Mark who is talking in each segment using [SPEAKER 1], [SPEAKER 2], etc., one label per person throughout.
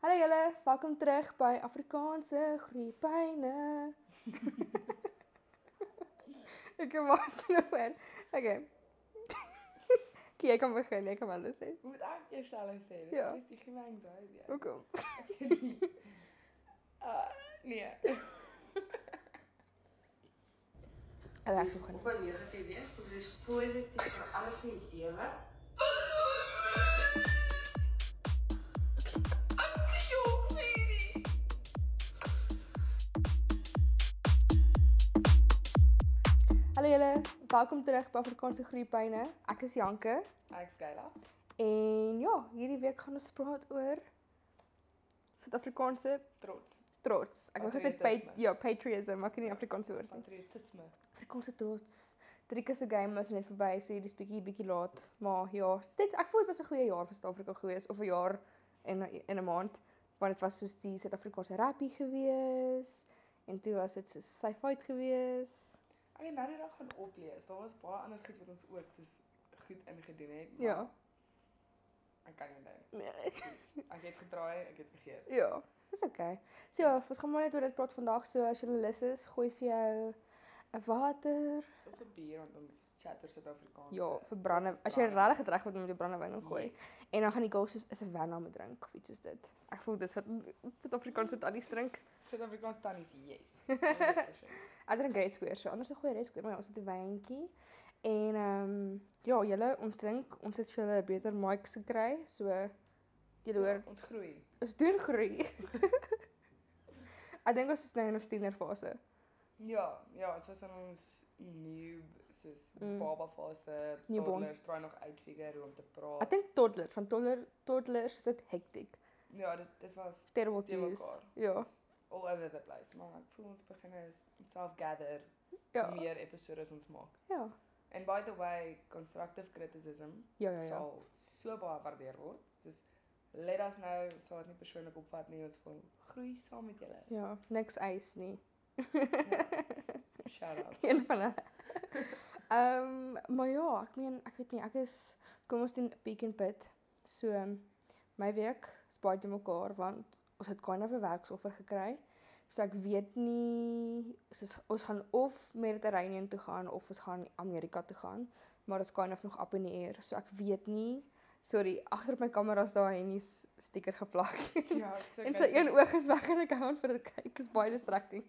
[SPEAKER 1] Hallo julle, welkom terug by Afrikaanse groeipyne. ek was nou weer. Okay. Kyk, ek kan begin, ek kan alles sê.
[SPEAKER 2] Moet ek eers alles sê? Dit
[SPEAKER 1] Ja.
[SPEAKER 2] is die gemengde ja. idee.
[SPEAKER 1] Hoekom?
[SPEAKER 2] Uh nee.
[SPEAKER 1] Hulle ek sou begin.
[SPEAKER 3] Op 'n negatief wees, want dis positief vir alles in die lewe.
[SPEAKER 1] Hallo julle, welkom terug by Afrikaanse groeipyne. Ek is Janke
[SPEAKER 2] Ek skuil af.
[SPEAKER 1] en ja, hierdie week gaan ons praat oor Suid-Afrikaanse
[SPEAKER 2] Trots.
[SPEAKER 1] trots. Ek wou gesê pat
[SPEAKER 2] Patriotisme.
[SPEAKER 1] ja, patriotism, maar ek ken nie Afrikaanse woord nie.
[SPEAKER 2] Patriotisme.
[SPEAKER 1] Afrikaanse trots. Drieke se game is net verby, so hierdie is bietjie bietjie laat, maar ja, dit ek voel dit was 'n goeie jaar vir Suid-Afrika gewees of 'n jaar en in 'n maand, want dit was soos die Suid-Afrikaanse rappie gewees en toe was dit soos sy fight gewees.
[SPEAKER 2] Ek het nou die dag gaan oplees. Daar was baie ander goed wat ons ook soos goed ingedoen het. maar
[SPEAKER 1] Ja.
[SPEAKER 2] Ek kan nie onthou.
[SPEAKER 1] Nee,
[SPEAKER 2] Ek het gedraai, ek het vergeet.
[SPEAKER 1] ja, dis okay. So ja, ons gaan maar net oor dit praat vandag, so as jy lus is, gooi vir jou 'n water.
[SPEAKER 2] Of 'n bier want ons chatter Suid-Afrikaans.
[SPEAKER 1] Ja, vir brande. As jy regtig dit reg moet doen, moet jy brandewyn ingooi.
[SPEAKER 2] Yes.
[SPEAKER 1] En dan gaan die girls soos 'n Savannah moet drink of iets soos dit. Ek voel dis wat Suid-Afrikaanse tannies drink.
[SPEAKER 2] Suid-Afrikaans tannies, yes. 100%.
[SPEAKER 1] Ek drink Red Square, so anders 'n goeie Red Square, maar ja, ons het 'n wyntjie. En ehm um, ja, julle, ons drink, ons het vir julle 'n beter mics gekry, so julle hoor,
[SPEAKER 2] Ja, Ons groei.
[SPEAKER 1] ons doen groei. Ek dink ons is nou in ons tienerfase.
[SPEAKER 2] Ja, ja, dit was in ons noob soos
[SPEAKER 1] Mm.
[SPEAKER 2] mm. baba fase.
[SPEAKER 1] Newborn.
[SPEAKER 2] Toddlers try nog uitfigure hoe om te praat.
[SPEAKER 1] Ek dink toddler, van toddler toddlers is dit hektiek.
[SPEAKER 2] Ja, dit dit was
[SPEAKER 1] Terrible
[SPEAKER 2] Te
[SPEAKER 1] twos.
[SPEAKER 2] mekaar.
[SPEAKER 1] Ja,
[SPEAKER 2] Dis all over the place, maar ek voel ons begin is self gather
[SPEAKER 1] ja.
[SPEAKER 2] meer episode as ons maak.
[SPEAKER 1] Ja.
[SPEAKER 2] And by the way, constructive criticism
[SPEAKER 1] Ja, ja, ja.
[SPEAKER 2] sal so baie waardeer word. Soos let us know, ons sal dit nie persoonlik opvat nie, ons wil groei saam met julle.
[SPEAKER 1] Ja, niks ys nie.
[SPEAKER 2] Ja. Shout out.
[SPEAKER 1] Een van hulle. Ehm, maar ja, ek meen, ek weet nie, ek is kom ons doen Peak and Pit. So ehm, my week is baie te mekaar want ons het kind of 'n werksoffer gekry. So ek weet nie soos ons gaan of Mediterranean toe gaan of ons gaan Amerika toe gaan, maar dit's kind of nog up in the air. So ek weet nie. Sorry, agter op my kamera is daar 'n sticker geplak.
[SPEAKER 2] Ja, so
[SPEAKER 1] En sy een oog is weg en ek hou aan vir dit kyk. Is baie distracting.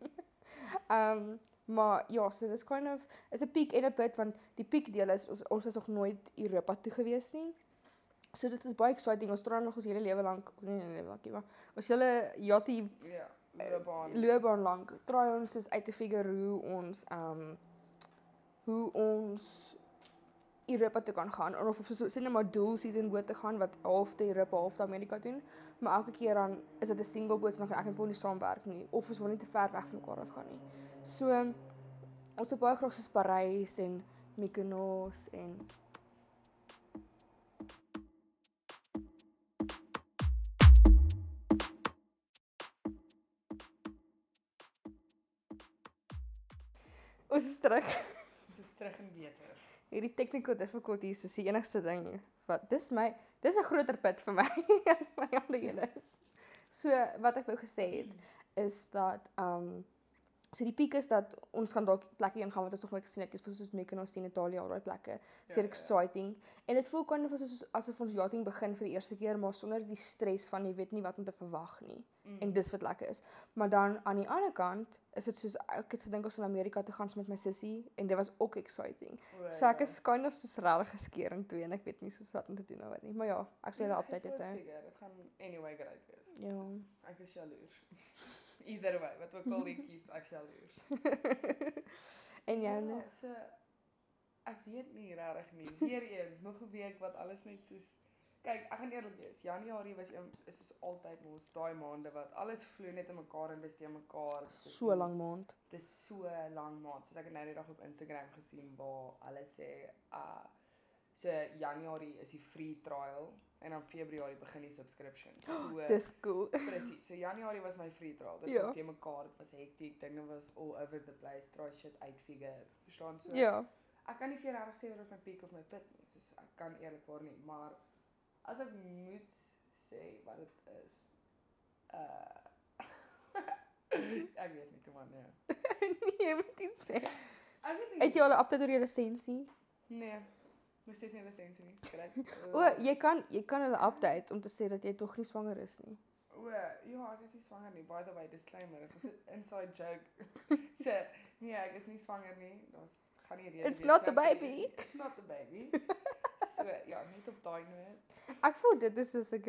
[SPEAKER 1] Ehm maar ja, so dis kind of is 'n piek en 'n bit want die piek deel is ons ons was nog nooit Europa toe gewees nie. So dit is baie exciting. Ons traai nog ons hele lewe lank, of nee nee nee, dankie maar. Ons hele jotty
[SPEAKER 2] ja,
[SPEAKER 1] eh,
[SPEAKER 2] loopbaan.
[SPEAKER 1] loopbaan lank traai ons soos uit te figure hoe ons ehm um, hoe ons Europa toe kan gaan en of op so sien net maar dual season boot te gaan wat halfte Europa halfte Amerika doen maar elke keer dan is dit 'n single boot so dan gaan ek en Paul nie saamwerk nie of ons wil nie te ver weg van mekaar af gaan nie. So ons het baie graag soos Parys en Mykonos en Ons is terug.
[SPEAKER 2] Dit is terug en beter.
[SPEAKER 1] Hierdie technical difficulties is die enigste ding wat dis my dis 'n groter put vir my van alle julle is. So wat ek wou gesê het is dat um so die piek is dat ons gaan dalk plekke heen gaan wat ons nog nooit gesien het. Dis vir soos Mykonos en Italië al daai plekke. Dit
[SPEAKER 2] Ja,
[SPEAKER 1] is
[SPEAKER 2] ja, ja.
[SPEAKER 1] exciting en dit voel kind of asof asof ons yachting begin vir die eerste keer maar sonder die stres van jy weet nie wat om te verwag nie.
[SPEAKER 2] Mm.
[SPEAKER 1] En dis wat lekker is. Maar dan aan die ander kant is dit soos ek het gedink ons gaan Amerika toe gaan saam met my sussie en dit was ook exciting.
[SPEAKER 2] O,
[SPEAKER 1] So ek
[SPEAKER 2] ja.
[SPEAKER 1] is kind of soos regtig geskeur in twee en ek weet nie soos wat om te doen nou nie. Maar ja, ek sal
[SPEAKER 2] Nee,
[SPEAKER 1] julle
[SPEAKER 2] maar
[SPEAKER 1] update
[SPEAKER 2] geen
[SPEAKER 1] dit hou.
[SPEAKER 2] soort figure, Dit gaan anyway great wees. Dit
[SPEAKER 1] Ja.
[SPEAKER 2] is- Ek is jaloers. Either way, wat ook al jy kies, ek is jaloers.
[SPEAKER 1] En jou nou?
[SPEAKER 2] Ja, so ek weet nie regtig nie. Weereens nog 'n week wat alles net soos kyk, ek gaan eerlik wees. Januarie was een is soos altyd mos daai maande wat alles vloei net in mekaar en dis te mekaar. Dit is
[SPEAKER 1] So
[SPEAKER 2] nie-
[SPEAKER 1] lank maand.
[SPEAKER 2] Dis so lang maand. Soos ek het nou die dag op Instagram gesien waar hulle sê uh so Januarie is die free trial en dan Februarie begin die subscription. So
[SPEAKER 1] Dis cool.
[SPEAKER 2] Presies. So Januarie was my free trial. Dit
[SPEAKER 1] Ja.
[SPEAKER 2] ja. was te mekaar, dit was hektiek, dinge was all over the place, try shit uitfigure. Verstaan so?
[SPEAKER 1] Ja.
[SPEAKER 2] Ek kan nie vir jou regtig sê of my piek of my pit nie. Soos ek kan eerlikwaar nie, maar as ek moet sê wat dit is, Uh ek weet nie kom aan nee.
[SPEAKER 1] nee, jy moet iets sê.
[SPEAKER 2] Ek weet nie.
[SPEAKER 1] Het jy al 'n update oor jou lisensie?
[SPEAKER 2] Nee. Nog steeds nie lisensie nie. Skryf.
[SPEAKER 1] O, jy kan jy kan hulle update om te sê dat jy tog nie swanger is nie.
[SPEAKER 2] O, ja, ek is nie swanger nie. By the way, disclaimer. Dit was 'n inside joke. so, nee, ek is nie swanger nie. Daar's gaan nie rede
[SPEAKER 1] It's
[SPEAKER 2] wees
[SPEAKER 1] not the
[SPEAKER 2] nou,
[SPEAKER 1] baby.
[SPEAKER 2] nee, It's not the baby. so, ja, net op daai noot.
[SPEAKER 1] Ek voel dit is soos 'n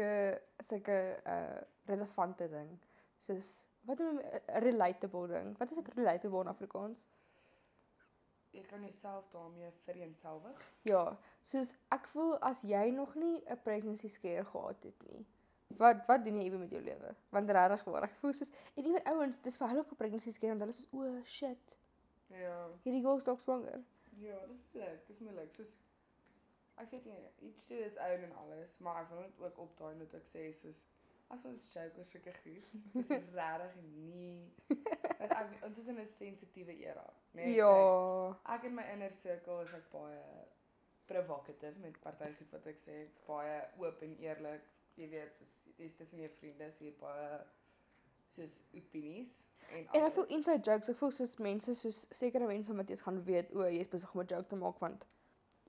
[SPEAKER 1] sulke uh relevante ding. Soos wat noem 'n relatable ding? Wat is dit relatable in Afrikaans?
[SPEAKER 2] Jy kan jouself daarmee vereenselwig.
[SPEAKER 1] Ja, soos ek voel as jy nog nie 'n pregnancy scare gehad het nie. Wat wat doen jy ewe met jou lewe? Want regtig waar, ek voel soos en nie met ouens, dis vir hulle ook 'n pregnancy scare want hulle is soos o shit,
[SPEAKER 2] Ja.
[SPEAKER 1] hierdie girl is dalk swanger.
[SPEAKER 2] Ja, dis moeilik. Dis moeilik. Soos ek weet nie, each to his own en alles, maar ek wil net ook op daai noot ook sê soos as ons joke oor sulke goed, dis regtig nie. Want ek, ons is in 'n sensitiewe era, né?
[SPEAKER 1] Nee,
[SPEAKER 2] Kyk,
[SPEAKER 1] ja.
[SPEAKER 2] Ek in my inner sirkel is ek baie provocative met party goed wat ek sê, ek's baie oop en eerlik. Jy weet, soos dis tussen jou vriende, so jy het baie soos opinies en
[SPEAKER 1] En ek voel
[SPEAKER 2] alles.
[SPEAKER 1] inside jokes, ek voel soos mense soos sekere mense wat eers gaan weet o, jy's besig om 'n joke te maak want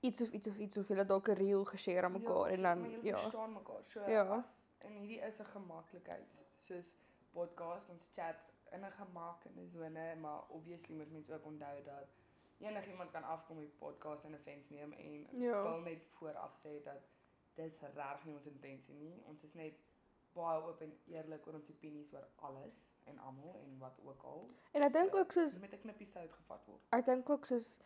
[SPEAKER 1] iets of iets of iets of hulle dalk 'n reel geshare aan mekaar ja, en
[SPEAKER 2] maar
[SPEAKER 1] dan
[SPEAKER 2] julle
[SPEAKER 1] ja.
[SPEAKER 2] verstaan mekaar. So
[SPEAKER 1] Ja.
[SPEAKER 2] ja. as en hierdie is 'n gemaklikheid soos podcast ons chat in 'n gemak in 'n sone, maar obviously moet mense ook onthou dat enigiemand kan afkom met podcast en offense neem en ek
[SPEAKER 1] Ja.
[SPEAKER 2] wil net vooraf sê dat dis regtig nie ons intensie nie. Ons is net baie oop en eerlik oor ons opinies oor alles en almal en wat ook al.
[SPEAKER 1] En ek dink ook soos
[SPEAKER 2] met 'n knippie sout gevat word.
[SPEAKER 1] ek dink ook soos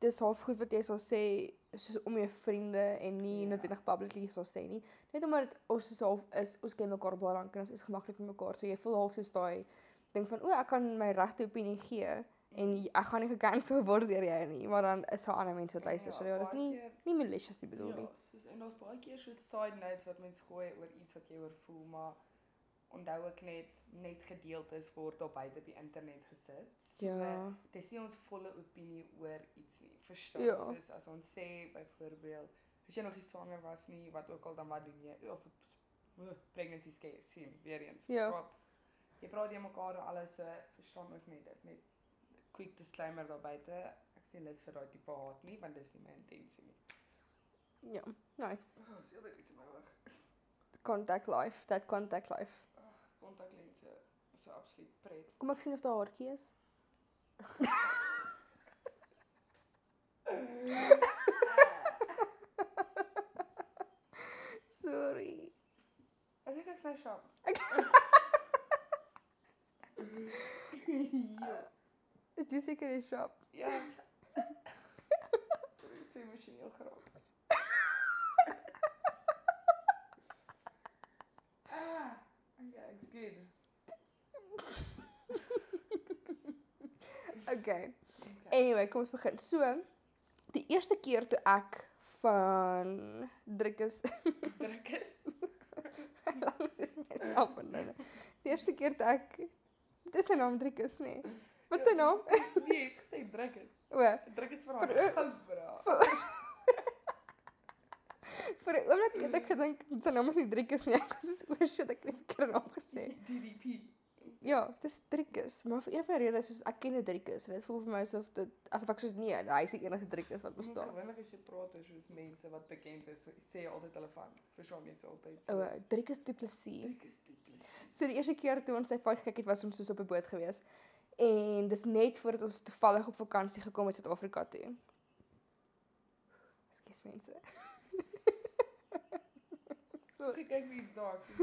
[SPEAKER 1] dis half goed wat jy sal sê soos om jou vriende en nie
[SPEAKER 2] Ja.
[SPEAKER 1] yeah. noodwendig publicly sal sê nie. Net omdat dit ons soos half is, ons ken mekaar baie lank en ons is gemaklik met mekaar. So jy voel half soos daai ding van o, ek kan my regte opinie gee en jy- ek gaan nie gekansel word deur jy nie, maar dan is daar ander mense wat luister. So ja, dis
[SPEAKER 2] baie
[SPEAKER 1] nie
[SPEAKER 2] keer-
[SPEAKER 1] nie malicious nie bedoel nie.
[SPEAKER 2] Ja, soos en daar's baie keer so side notes wat mens gooi oor iets wat jy oor voel, maar onthou ook net net gedeeltes word daar buite op die internet gesit. So,
[SPEAKER 1] Ja.
[SPEAKER 2] Dis nie ons volle opinie oor iets nie. Verstaan?
[SPEAKER 1] Ja.
[SPEAKER 2] Ja. Soos as ons sê byvoorbeeld, as jy nog nie swanger was nie, wat ook al dan wat doen jy? Of uh, pregnancy scare sien weer eens.
[SPEAKER 1] Ja.
[SPEAKER 2] Praat, jy praat jy mekaar oor alles, so verstaan ook net dit net quick disclaimer daar buite. Ek sê lus vir daai tipe haat nie, want dis nie my intensie nie.
[SPEAKER 1] Ja, nice.
[SPEAKER 2] Oh, is heeltyd iets in my oog.
[SPEAKER 1] Contact life, that contact life.
[SPEAKER 2] Kontaklense is 'n absoluut pret.
[SPEAKER 1] Kom ek sien of daar haartjie is. Sorry.
[SPEAKER 2] Ek dink ek's nou sharp.
[SPEAKER 1] Is jy seker in die shop?
[SPEAKER 2] Ja. Sorry, ek sê emosioneel geraak. Ah, okay, ek's good.
[SPEAKER 1] Okay.
[SPEAKER 2] Okay.
[SPEAKER 1] Ja. Anyway, kom ons begin. So, die eerste keer toe ek van Driekus
[SPEAKER 2] Druk is.
[SPEAKER 1] langs is myself en dan. Die eerste keer toe ek dis sy naam Driekus, nee. Wat is sy naam?
[SPEAKER 2] nou? Nee, jy het gesê druk is.
[SPEAKER 1] O,
[SPEAKER 2] Druk is vir haar goud bra.
[SPEAKER 1] vir 'n oomblik het ek gedink sy naam is nie Driekus nie. Ek was soos o shit, ek het die verkeerde naam gesê.
[SPEAKER 2] DDP.
[SPEAKER 1] Ja, dis Driekus, maar vir een van die redes soos ek ken 'n Driekus en dit voel vir my asof dit asof ek soos nee, hy is die enigste Driekus wat bestaan.
[SPEAKER 2] Gewoonlik as jy praat oor soos mense wat bekend is, sê jy altyd hulle van. Verstaan jy se altyd.
[SPEAKER 1] O, Driekus Du Plessis.
[SPEAKER 2] druk is dit.
[SPEAKER 1] So die eerste keer toe ons sy vyf gekyk het was ons soos op 'n boot gewees. En dis net voordat ons toevallig op vakansie gekom het Suid-Afrika toe. Ekskuus mense. so
[SPEAKER 2] Kyk kyk wie iets daar. sien.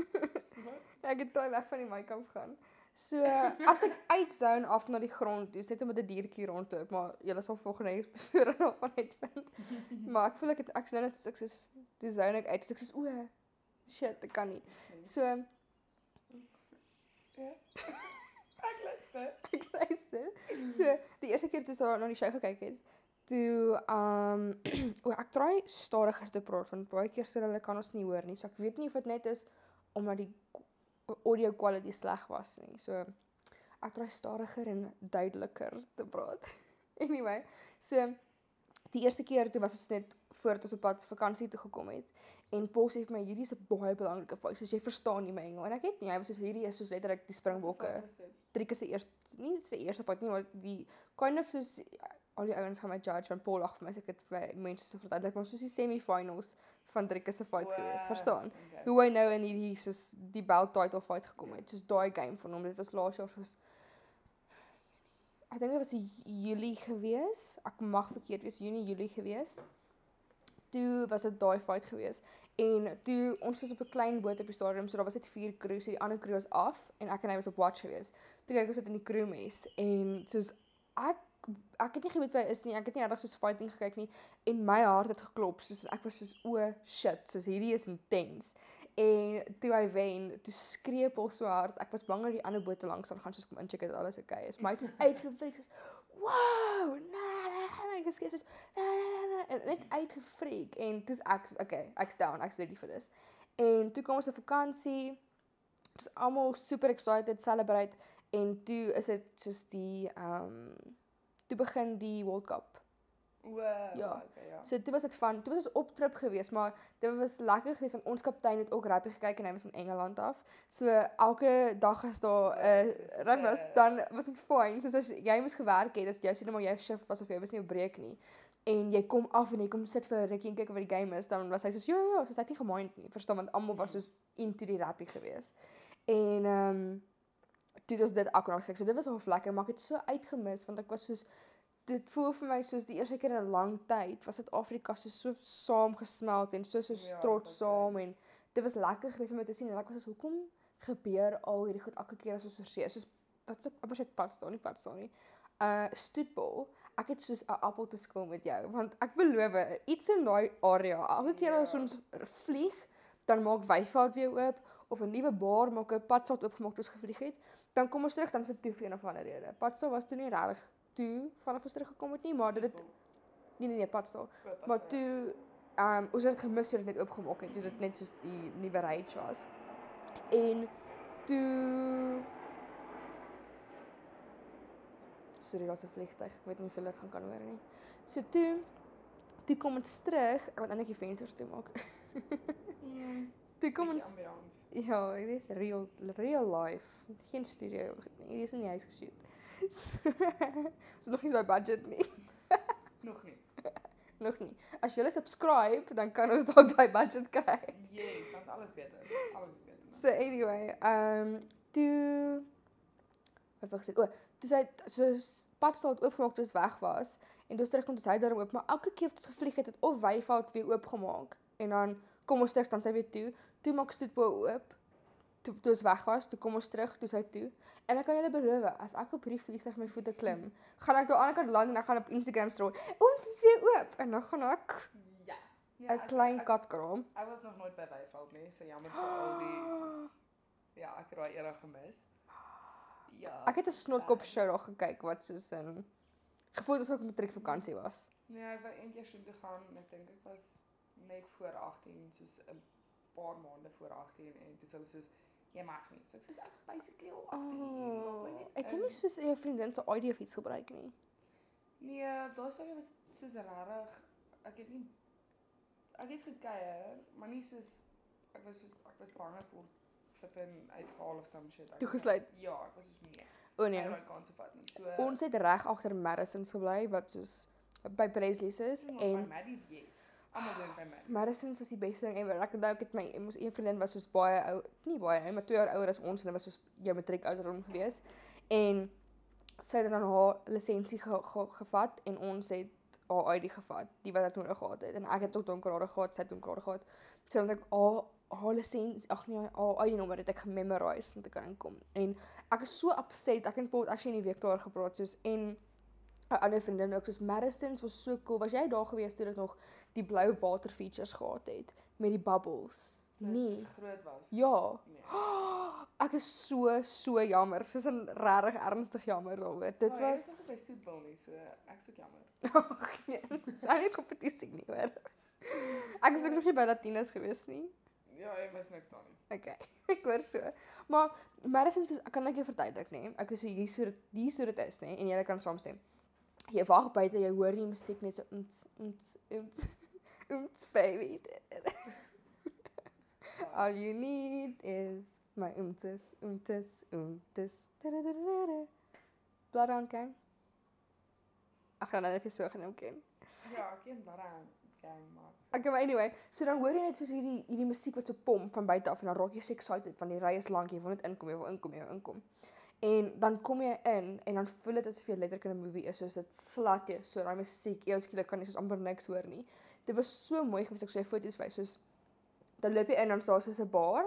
[SPEAKER 2] Wat?
[SPEAKER 1] Ja, ek het toe weg van die mic af gaan. So as ek uitzone af na die grond toe, sit om met 'n diertjie rondloop, maar jy sal volgende episode daarvan uitvind. Maar ek voel ek het ek sien net soos ek soos die zone ek uit, soos ek soos o shit, ek kan nie. So
[SPEAKER 2] Ek luister.
[SPEAKER 1] ek luister. So die eerste keer toe sy na die show gekyk het, toe um o ek probeer stadiger te praat want baie keer sê hulle kan ons nie hoor nie. So ek weet nie of dit net is omdat die k- audio quality sleg was nie. So ek probeer stadiger en duideliker te praat. anyway, so die eerste keer toe was ons net voordat ons op pad vakansie toe gekom het En Paul sê vir my hierdie is 'n baie belangrike fout, soos jy verstaan nie my Engel. En ek het nie, hy was soos hierdie is soos letterlik die springbokke. Driekus se eerste nie sy eerste fout nie, maar die kind of soos eh, al die ouens gaan my judge van Paul af vir my as ek dit vir mense so verduidelik, maar soos die semi-finals van Driekus se fout gewees, verstaan?
[SPEAKER 2] Hoe
[SPEAKER 1] hoe hy nou in hierdie soos die belt title fight gekom het. Soos daai game van hom, dit was laas jaar soos ek dink dit was in Julie gewees. Ek mag verkeerd wees, Junie, Julie gewees. Toe was dit daai fight gewees en toe ons was op 'n klein boot op die stadium, so daar was net vier crews, so die ander crew was af en ek en hy was op watch gewees. Toe kyk ons dit in die crew mes en soos ek ek het nie geweet wie hy is nie. Ek het nie regtig soos fighting gekyk nie en my hart het geklop. Soos ek was soos o shit, soos hierdie is intens. En toe hy wen, toe skree Paul so hard. Ek was bang dat die ander bote langs aan gaan soos kom incheck dat alles oukei okay is. Maar hy het soos uitgefreek soos wow, nee nee nee, ek skree soos nee nee nee en net uitgefreek en toe's ek soos okay, ek's down, ek's ready vir dis. En toe kom ons op vakansie. Dis almal super excited, celebrate en toe is dit soos die ehm um, toe begin die World Cup. eh, Ja.
[SPEAKER 2] Ja, okay, eh, ja.
[SPEAKER 1] So dit was dit van, dit was ons op trip geweest, maar dit was lekker geweest want ons kaptein het ook rugby gekyk en hy was van Engeland af. So elke dag as daar 'n
[SPEAKER 2] Ja, dis- dis,
[SPEAKER 1] uh, rugby was,
[SPEAKER 2] eh,
[SPEAKER 1] dan was dit fyn. Soos as jy moes gewerk het, as jy sien maar jou shift was of jy was nie op breek nie. En jy kom af en jy kom sit vir 'n rukkie en kyk wat die game is, dan was hy soos ja ja, ja," soos hy het nie gemind nie. Verstaan want almal was
[SPEAKER 2] Mhm.
[SPEAKER 1] soos into die rugby geweest. En ehm um, toe het ons dit ook nog gekry. So dit was half lekker, maar ek het so uitgemis want ek was soos dit voel vir my soos die eerste keer in 'n lang tyd was Suid-Afrika so so saamgesmelt en so so
[SPEAKER 2] Ja, dit
[SPEAKER 1] trots
[SPEAKER 2] was
[SPEAKER 1] saam en dit was lekker geweest om dit te sien en ek was soos hoekom gebeur al hierdie goed elke keer as ons oorsee is?" soos wat se amper se pad staan nie pad staan nie. Uh stoetbal. Ek het soos 'n appel te skil met jou want ek beloof iets in daai area. Elke keer as
[SPEAKER 2] Ja.
[SPEAKER 1] ons vlieg, dan maak Wyfout weer oop of 'n nuwe bar maak 'n padstad oopgemaak toe ons gevlieg het. Dan kom ons terug dan sit toe vir een of ander rede. Padstad was toe nie regtig toe vanaf ons teruggekom het nie, maar dit het nee nee nee padstad. Maar toe ehm um, ons het dit gemis toe dit net oopgemaak het, toe dit net soos die nuwe rage was. En toe Sorry, daar's 'n vliegtyg. Ek weet nie hoeveel dit gaan kan hoor nie. So toe toe kom ons terug. Ek wil eintlik die vensters toe maak. toe kom ons Ja, hier is real real life. Geen studio. Hier is in die huis geshoot. So, ons het nog nie so 'n budget nie.
[SPEAKER 2] nog nie.
[SPEAKER 1] Nog nie. As jy subscribe, dan kan ons dalk daai budget kry.
[SPEAKER 2] Yes, dan is alles beter. Alles is beter.
[SPEAKER 1] So anyway, ehm um, toe wat wou ek sê? O, toe sy so padstaat oopgemaak toe ons weg was en toe ons terugkom toe sy daarom oop, maar elke keer wat ons gevlieg het, het of Wyfout weer oopgemaak en dan kom ons terug dan sy weer toe. Toe maak Stoetbo oop. Toe toe ons weg was, toe kom ons terug, toe sy toe. En ek kan julle beloof, as ek op hierdie vliegtuig my voete klim, gaan ek daar aan die ander kant land en ek gaan op Instagram strooi. Ons is weer oop en dan gaan ek
[SPEAKER 2] ja.
[SPEAKER 1] 'n
[SPEAKER 2] ek-
[SPEAKER 1] klein
[SPEAKER 2] ek-
[SPEAKER 1] katkraam.
[SPEAKER 2] Ek was nog nooit by Wyfeld nie, so jammer vir al die
[SPEAKER 1] Ah.
[SPEAKER 2] soos- Ja, ek het daai era gemis. Ja.
[SPEAKER 1] Ek het 'n snotkop show daar gekyk wat soos in gevoel het asof ek op matriekvakansie was.
[SPEAKER 2] Nee, ek wou eentjie soen toe gaan en ek dink ek was net voor 18, soos 'n paar maande voor 18 en toe sê hulle soos jy mag nie. So ek sê ek's basically al 18. maak my
[SPEAKER 1] Oh,
[SPEAKER 2] net
[SPEAKER 1] ek het nie
[SPEAKER 2] in.
[SPEAKER 1] soos 'n vriendin se ID of iets gebruik nie.
[SPEAKER 2] Nee, daai storie was soos rarig. Ek het nie ek het gekuier, maar nie soos ek was soos ek was bang ek word flippin uitgehaal of some shit. Ek-
[SPEAKER 1] Toegesluit.
[SPEAKER 2] Ja, ek was soos nee.
[SPEAKER 1] O
[SPEAKER 2] Nee,
[SPEAKER 1] nee.
[SPEAKER 2] daai kans op vat nie. So
[SPEAKER 1] Ons het reg agter Madison's gebly wat soos by Presley's is
[SPEAKER 2] maar
[SPEAKER 1] en
[SPEAKER 2] my Maddie's yes. Almal doen by my.
[SPEAKER 1] Madison's was die beste ding ever. Ek onthou ek het my ons een vriendin was soos baie ou, nie baie oud, maar 2 jaar ouer as ons en dit was soos jou matriek ouderdom gewees. En sy het dan haar lisensie ge, ge, gevat en ons het haar ID gevat, die wat ek nodig gehad het. En ek het tot donkerare gehad, sy het donkerare gehad. So dan ek haar haar lisensie, ag nee, haar ID nommer het ek gememorise om te kan inkom. En ek is so upset. Ek en Paul het actually in die week daar gepraat soos en 'n ander vriendin ook soos Madison's was so cool. Was jy daar gewees toe dit nog die blou water features gehad het met die bubbles?
[SPEAKER 2] Nee.
[SPEAKER 1] Nee.
[SPEAKER 2] Soos groot was.
[SPEAKER 1] Ja.
[SPEAKER 2] Nee.
[SPEAKER 1] Ek is so so jammer, soos 'n regtig ernstig jammer daaroor. Dit
[SPEAKER 2] Maar jy
[SPEAKER 1] was
[SPEAKER 2] is ook nie by Stoetbal nie, so ek's ook eh, jammer.
[SPEAKER 1] Ag nee, daar nie kompetisie nie hoor. Ek was ook nog nie by Latinas gewees nie.
[SPEAKER 2] Ja, jy mis niks daar nie.
[SPEAKER 1] Okay, ek hoor so. Maar Madison soos ek kan net jou verduidelik nê. Ek is so hier so dit hier so dit is nê en jy kan saamstem. Jy wag buite, jy hoor die musiek net so int int int int baby.
[SPEAKER 2] vas.
[SPEAKER 1] All you need is my oomtes, oomtes, oomtes. tadadadadada. Bloodhound Gang. Ek gaan nou net vir so genoem ken. Oh.
[SPEAKER 2] Ja, ek ken Barang gang maar.
[SPEAKER 1] Okay, maar anyway, so dan hoor jy net soos hierdie hierdie musiek wat so pomp van buite af en dan raak jy so excited want die ry is lank, jy wil net inkom, jy wil inkom, jy wil inkom. En dan kom jy in en dan voel dit asof jy letterlik in 'n movie is, soos dit slat jou, so daai musiek, eers skielik kan jy soos amper niks hoor nie. Dit was so mooi gewees, ek sou jou foto's wys, soos dan loop jy in en dan staan soos 'n bar,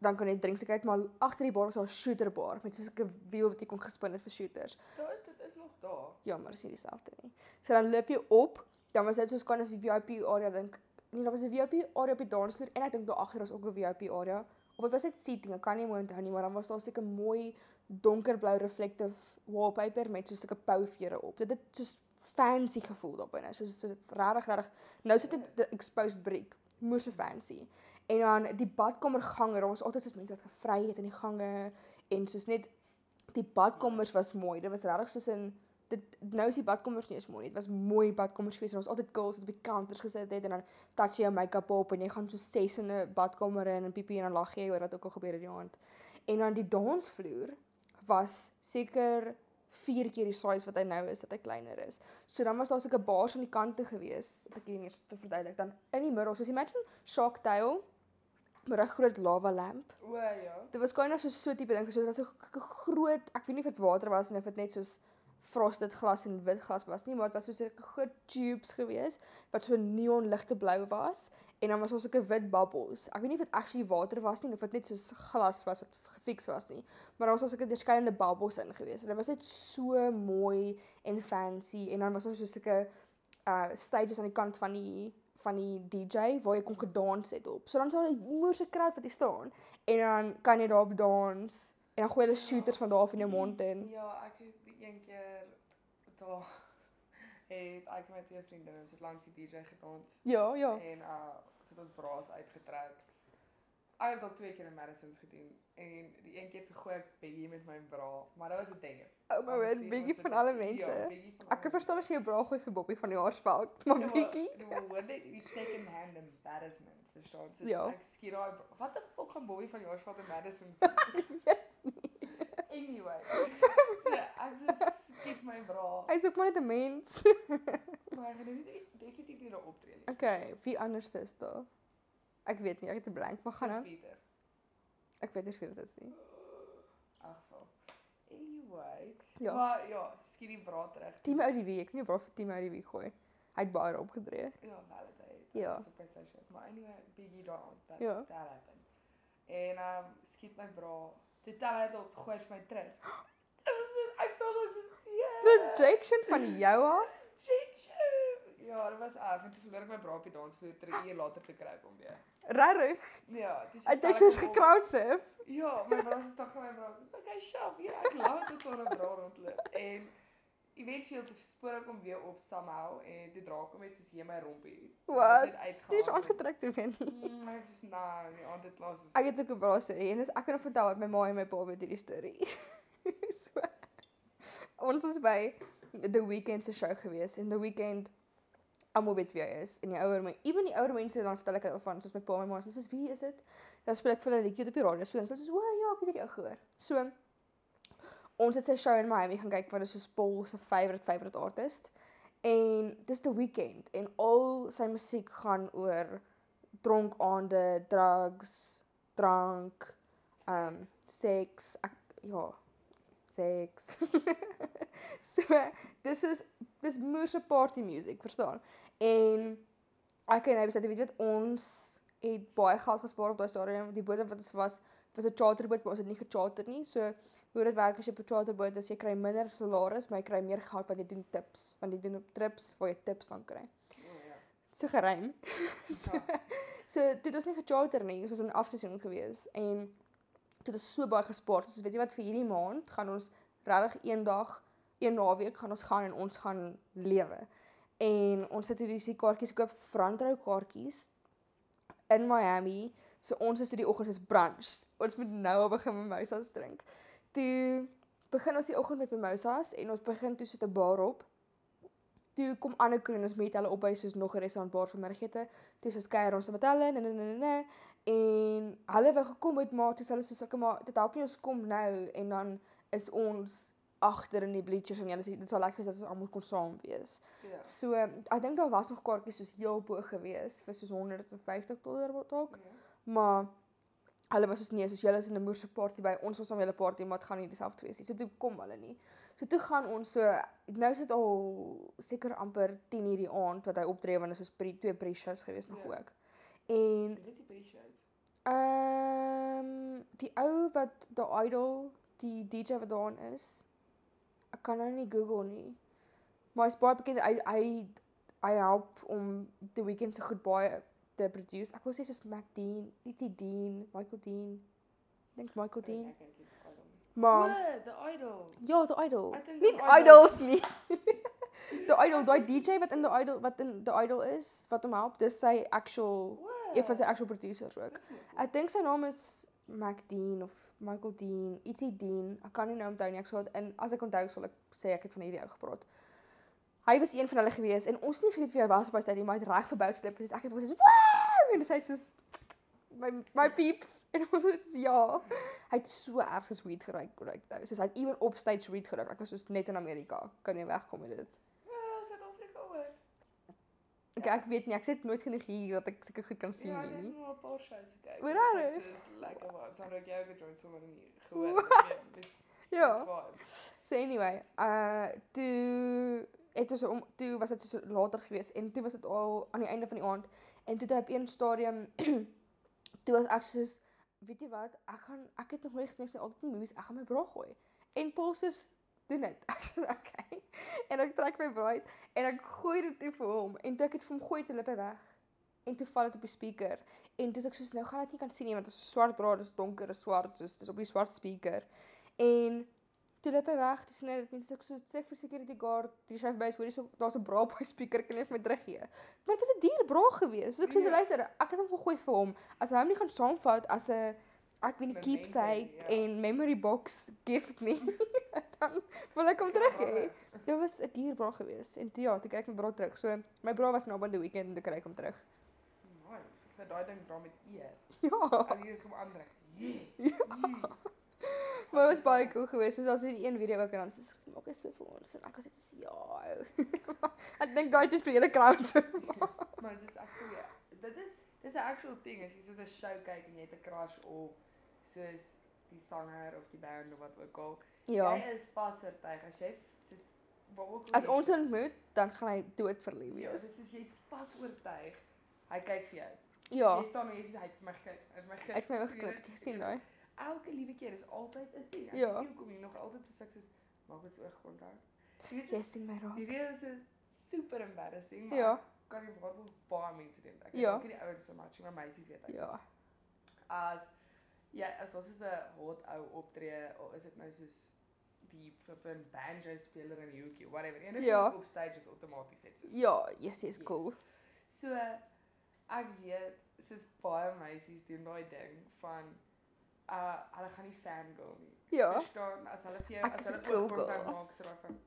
[SPEAKER 1] dan kan jy drinks kyk, maar agter die bar was daar 'n shooter bar met soos 'n wiel wat jy kon gespin het vir shooters.
[SPEAKER 2] Daar is dit is nog daar.
[SPEAKER 1] Jammer, is nie dieselfde nie. So dan loop jy op, dan was dit soos kan as die VIP area dink. Nee, daar was 'n VIP area op die dansvloer en ek dink daar agter was ook 'n VIP area. Of dit was net seating, ek kan nie meer onthou nie, maar dan was daar seker mooi donkerblou reflective wallpaper met so 'n stukkie pouvere op. Dit het soos fancy gevoel daar binne. Soos so regtig regtig. Nou sit dit die exposed brick, moer so fancy. En dan die badkamergange, daar was altyd soos mense wat gevry het in die gange en soos net die badkamers was mooi. Dit was regtig soos in dit nou is die badkamers nie eens mooi nie. Dit was mooi badkamers geweest en ons altyd girls wat op die counters gesit het en dan touch jy jou make-up op en jy gaan so ses in 'n badkamer in en piepie en dan lag jy oor wat ook al gebeur het die aand. En dan die dansvloer was seker vier keer die size wat hy nou is, dat hy kleiner is. So dan was daar seker baars aan die kante gewees, wat ek hier net te verduidelik. Dan in die middel, soos imagine Shark Tale met 'n groot lava lamp
[SPEAKER 2] O ja.
[SPEAKER 1] Dit was kind of so so tipe ding, so dit was so k- k- groot, ek weet nie of dit water was en of dit net soos frosted glas en wit glas was nie, maar dit was so 'n groot tubes gewees wat so neon ligte blou was en dan was daar sulke wit bubbles. Ek weet nie of dit actually water was nie of dit net soos glas was wat gefix was nie, maar daar was daar sulke verskillende bubbles in gewees en dit was net so mooi en fancy en dan was daar so sulke uh stages aan die kant van die van die DJ waar jy kon gedans het op. So dan sou 'n moerse crowd wat jy staan en dan kan jy daarop dans en dan gooi hulle shooters van daar af in jou mond in.
[SPEAKER 2] Ja, ek het die een keer daar het ek met twee vriende ons het langs die DJ gedans
[SPEAKER 1] Ja, ja.
[SPEAKER 2] en uh ons het ons braas uitgetrek. Ek het al twee keer in Madison's gedoen en die een keer vergooi ek Biggie met my bra, maar dit was 'n ding.
[SPEAKER 1] Oh my word, Biggie van alle mense. Ek kan verstaan as jy jou bra gooi vir Bobbie van die haarsveld, maar Biggie.
[SPEAKER 2] Nou hoor dit die second hand embarrassment, verstaan? So
[SPEAKER 1] Ja.
[SPEAKER 2] ek skiet daai Wat the fuck gaan Bobby van Jaarsveld en Madison? doen? anyway. So ek so skiet my bra.
[SPEAKER 1] Hy's ook maar net 'n mens.
[SPEAKER 2] Maar ek gaan nou nie definitief nie daar optree nie.
[SPEAKER 1] Okay, wie anders is daar? Ek weet nie, ek het 'n blank, maar gaan
[SPEAKER 2] St.
[SPEAKER 1] nou.
[SPEAKER 2] Pieter.
[SPEAKER 1] Ek weet nie wie dit is nie.
[SPEAKER 2] Afval. Anyway.
[SPEAKER 1] Ja.
[SPEAKER 2] Maar ja, skiet die bra terug.
[SPEAKER 1] Team uit die week, ek weet nie bra vir Team uit die week gooi. Hy het baie opgedree.
[SPEAKER 2] Ja, validate.
[SPEAKER 1] Ja.
[SPEAKER 2] Op sy socials, maar anyway, Biggie daar aan. That,
[SPEAKER 1] Ja.
[SPEAKER 2] that happened. En ehm um, skiet my bra. Toe tel hy dit op, gooi hy vir my terug. Ek was so- ek staan langs so yeah.
[SPEAKER 1] Rejection van jou af.
[SPEAKER 2] Rejection. Ja, dit was erg. En toe verloor ek my bra op die dansvloer 3 uur later te kry kom weer.
[SPEAKER 1] Regtig?
[SPEAKER 2] Ja, dis
[SPEAKER 1] Ek dink sy's gecrowdsurf.
[SPEAKER 2] Ja, my bra is tog my bra. Dis okay, sharp. Ja, ek laat dit sonder bra rondloop. En eventueel te spoor ek hom weer op somehow en toe dra ek hom net soos hier my rompie.
[SPEAKER 1] Wat?
[SPEAKER 2] Dis
[SPEAKER 1] Dis aangetrek toe vir nie.
[SPEAKER 2] Mm, maar dit is nou, die aand het laas is.
[SPEAKER 1] Ek het ook 'n bra storie en dis ek kan nog vertel wat my ma en my pa met hierdie storie. so ons was by the weekend se show gewees en the weekend almal weet wie hy is en die ouer mense, ewen die ouer mense dan vertel ek hulle van soos my pa en my ma en soos wie is dit? Dan speel ek vir hulle 'n liedjie wat op die radio speel en soos o ja, ek het hierdie ou gehoor. So ons het sy show in Miami gaan kyk want dit is so Paul se favourite favourite artist en dis the weekend en al sy musiek gaan oor dronk aande, drugs, drank, ehm um, seks, ek, ja, seks. so dis is dis moerse party music, verstaan? En ek en hy besluit, weet jy wat, ons het baie geld gespaar op daai stadium. Die boot wat ons was was 'n charterboot, maar ons het nie gecharter nie. So hoe dit werk as jy op 'n charterboot is, jy kry minder salaris, maar jy kry meer geld wat jy doen tips, want jy doen op trips waar jy tips dan kry.
[SPEAKER 2] Oh, ja.
[SPEAKER 1] So geruim.
[SPEAKER 2] So,
[SPEAKER 1] So dit was nie gecharter nie, ons was in afseisoen gewees en dit is so baie gespaar. So weet jy wat vir hierdie maand gaan ons regtig eendag, een naweek gaan ons gaan en ons gaan lewe. En ons het hierdie kaartjies koop, brandrou kaartjies in Miami. So ons is toe die oggend is brunch. Ons moet nou al begin mimosas drink. Toe begin ons die oggend met mimosas en ons begin toe sit 'n bar op. Toe kom ander kroon ons met hulle op by soos nog 'n restaurantbar vir middagete. Toe soos kuier ons met hulle. Nee nee nee nee. En hulle wou gekom het maar toe is hulle soos ek maar dit help nie ons kom nou en dan is ons agter in die bleachers en hulle sê dit sal lekker wees as ons almal kom saam wees.
[SPEAKER 2] Ja.
[SPEAKER 1] So ek dink daar was nog kaartjies soos heel bo gewees vir soos 150 dollar wat dalk,
[SPEAKER 2] Ja.
[SPEAKER 1] maar hulle was soos nee, soos julle is in 'n moerse party by ons was om julle party, maar dit gaan nie dieselfde wees nie. So toe kom hulle nie. So toe gaan ons so nou is dit al seker amper 10 uur die aand wat hy optree want dit is soos pre twee pre-shows gewees nog
[SPEAKER 2] Ja.
[SPEAKER 1] ook. En
[SPEAKER 2] Dit is die pre-shows.
[SPEAKER 1] Ehm die ou wat die idol, die DJ wat daarin is. Ek kan nou nie Google nie. Maar hy's baie bekend. Hy hy hy help om The Weeknd se goed baie te produce. Ek wil sê soos Mac Dean, ietsie Dean, Michael Dean. Ek dink Michael Dean.
[SPEAKER 2] Ek dink dit is Idol.
[SPEAKER 1] Maar
[SPEAKER 2] Nee, The Idol.
[SPEAKER 1] ja, The Idol.
[SPEAKER 2] Ek dink
[SPEAKER 1] Nie
[SPEAKER 2] The Idol-
[SPEAKER 1] idols nie. The Idol,
[SPEAKER 2] Ek
[SPEAKER 1] daai
[SPEAKER 2] is-
[SPEAKER 1] DJ wat in The Idol wat in The Idol is, wat hom help, dis sy actual een van sy actual producers ook. Ek dink sy naam is Mac Dean of Michael Dean, ietsie Dean. Ek kan nie nou onthou nie. Ek sal dit in as ek onthou sal ek sê ek het van hierdie ou gepraat. Hy was een van hulle gewees en ons het nie geweet wie hy was by sy tyd, maar hy het reg verbou slip en dis ek het was soos wow en sy soos my my peeps en ons het soos ja. Hy het so erg soos weed geruik, geruik nou. Soos hy het ewen op stage weed geruik. Ek was soos net in Amerika. Kan nie wegkom met dit.
[SPEAKER 2] Ja, Suid-Afrika hoor.
[SPEAKER 1] Okay, ek weet nie, ek sit nooit genoeg hier dat ek seker goed kan sien
[SPEAKER 2] Ja,
[SPEAKER 1] ja,
[SPEAKER 2] ek
[SPEAKER 1] nie.
[SPEAKER 2] het nog 'n paar shows gekyk.
[SPEAKER 1] Oor
[SPEAKER 2] Dit
[SPEAKER 1] daar,
[SPEAKER 2] is lekker vibes. Dan raak jy ook 'n joint sommer nie gehoor. het, ja, Dis
[SPEAKER 1] Ja.
[SPEAKER 2] dis vibes.
[SPEAKER 1] So anyway, uh toe het ons om toe was dit so later gewees en toe was dit al aan die einde van die aand en toe het hy op een stadium toe was ek soos weet jy wat, ek gaan ek het nog nooit gedink sy altyd in movies, ek gaan my bra gooi. En Paul soos doen dit. Ek sê okay. En ek trek my bra uit en ek gooi dit toe vir hom en toe ek dit vir hom gooi, toe loop hy weg. En toe val dit op die speaker en toe is ek soos nou gaan dit nie kan sien nie want dit is swart bra, dis donker, dis swart, soos dis op die swart speaker. En Toe loop hy weg, toe sien hy dit nie. So ek so sê vir security guard, die chef bys hoorie so daar's 'n bra op hy speaker kan jy vir my teruggee. Maar dit was 'n duur bra gewees. So ek sê
[SPEAKER 2] Ja.
[SPEAKER 1] luister, ek het hom gegooi vir hom. As hy hom nie gaan saamvat as 'n ek weet nie
[SPEAKER 2] Memento,
[SPEAKER 1] keepsake
[SPEAKER 2] ja.
[SPEAKER 1] en memory box gift nie, dan wil ek hom
[SPEAKER 2] Ja,
[SPEAKER 1] terug hê. Dit was 'n duur bra gewees en toe ja, toe kyk my bra terug. So my bra was naby aan die weekend en toe kry ek hom terug.
[SPEAKER 2] Nice. Ek sê daai ding dra met eer.
[SPEAKER 1] Ja.
[SPEAKER 2] Al hier is kom Ja. aandruk.
[SPEAKER 1] Maar dit was baie cool geweest. Soos as hierdie een video ook en dan soos maak hy so vir ons en ek was net soos ja. ou." ek dink daai het vir julle crowd.
[SPEAKER 2] Maar dis ek voel ja. Dit is dis 'n actual thing as jy soos 'n show kyk en jy het 'n crush op soos die sanger of die band of wat ook al.
[SPEAKER 1] ja.
[SPEAKER 2] Jy is vasvertuig as jy f- soos waar ook al
[SPEAKER 1] As
[SPEAKER 2] jy
[SPEAKER 1] ons ontmoet, dan gaan hy dood verlief
[SPEAKER 2] Ja,
[SPEAKER 1] wees.
[SPEAKER 2] dit is jy's vas oortuig. Hy kyk vir jou.
[SPEAKER 1] Ja.
[SPEAKER 2] Jy staan en jy sê hy het vir my gekyk. Hy het my gekyk.
[SPEAKER 1] Ek het my
[SPEAKER 2] Sien jy
[SPEAKER 1] geklop,
[SPEAKER 2] dit?
[SPEAKER 1] jy sien daai.
[SPEAKER 2] Elke liewe keer is altyd 'n ding. Ek
[SPEAKER 1] Ja.
[SPEAKER 2] weet nie Hoekom jy nog altyd te sukses maak ons oogkontak. Jy weet
[SPEAKER 1] Jy
[SPEAKER 2] yes.
[SPEAKER 1] sien my raak.
[SPEAKER 2] hierdie is een super embarrassing, maar
[SPEAKER 1] Ja.
[SPEAKER 2] ek kan jy waarbo baie mense doen. Ek
[SPEAKER 1] Ja.
[SPEAKER 2] dink die ouens so matching maar meisies weet hy.
[SPEAKER 1] Ja.
[SPEAKER 2] soos, As ja, as ons is 'n hot ou optree of is dit nou soos die flippin banjo speler in die hoekie, whatever. Enige
[SPEAKER 1] Ja.
[SPEAKER 2] ja. op stage is outomaties net soos.
[SPEAKER 1] Ja, yes, yes,
[SPEAKER 2] Yes.
[SPEAKER 1] cool.
[SPEAKER 2] So ek weet soos baie meisies doen daai ding van uh hulle gaan nie fangirl nie.
[SPEAKER 1] Ja.
[SPEAKER 2] Verstaan as hulle vir jou
[SPEAKER 1] Ek
[SPEAKER 2] as
[SPEAKER 1] is
[SPEAKER 2] hulle
[SPEAKER 1] een cool
[SPEAKER 2] oogkontak
[SPEAKER 1] girl.
[SPEAKER 2] maak so raai van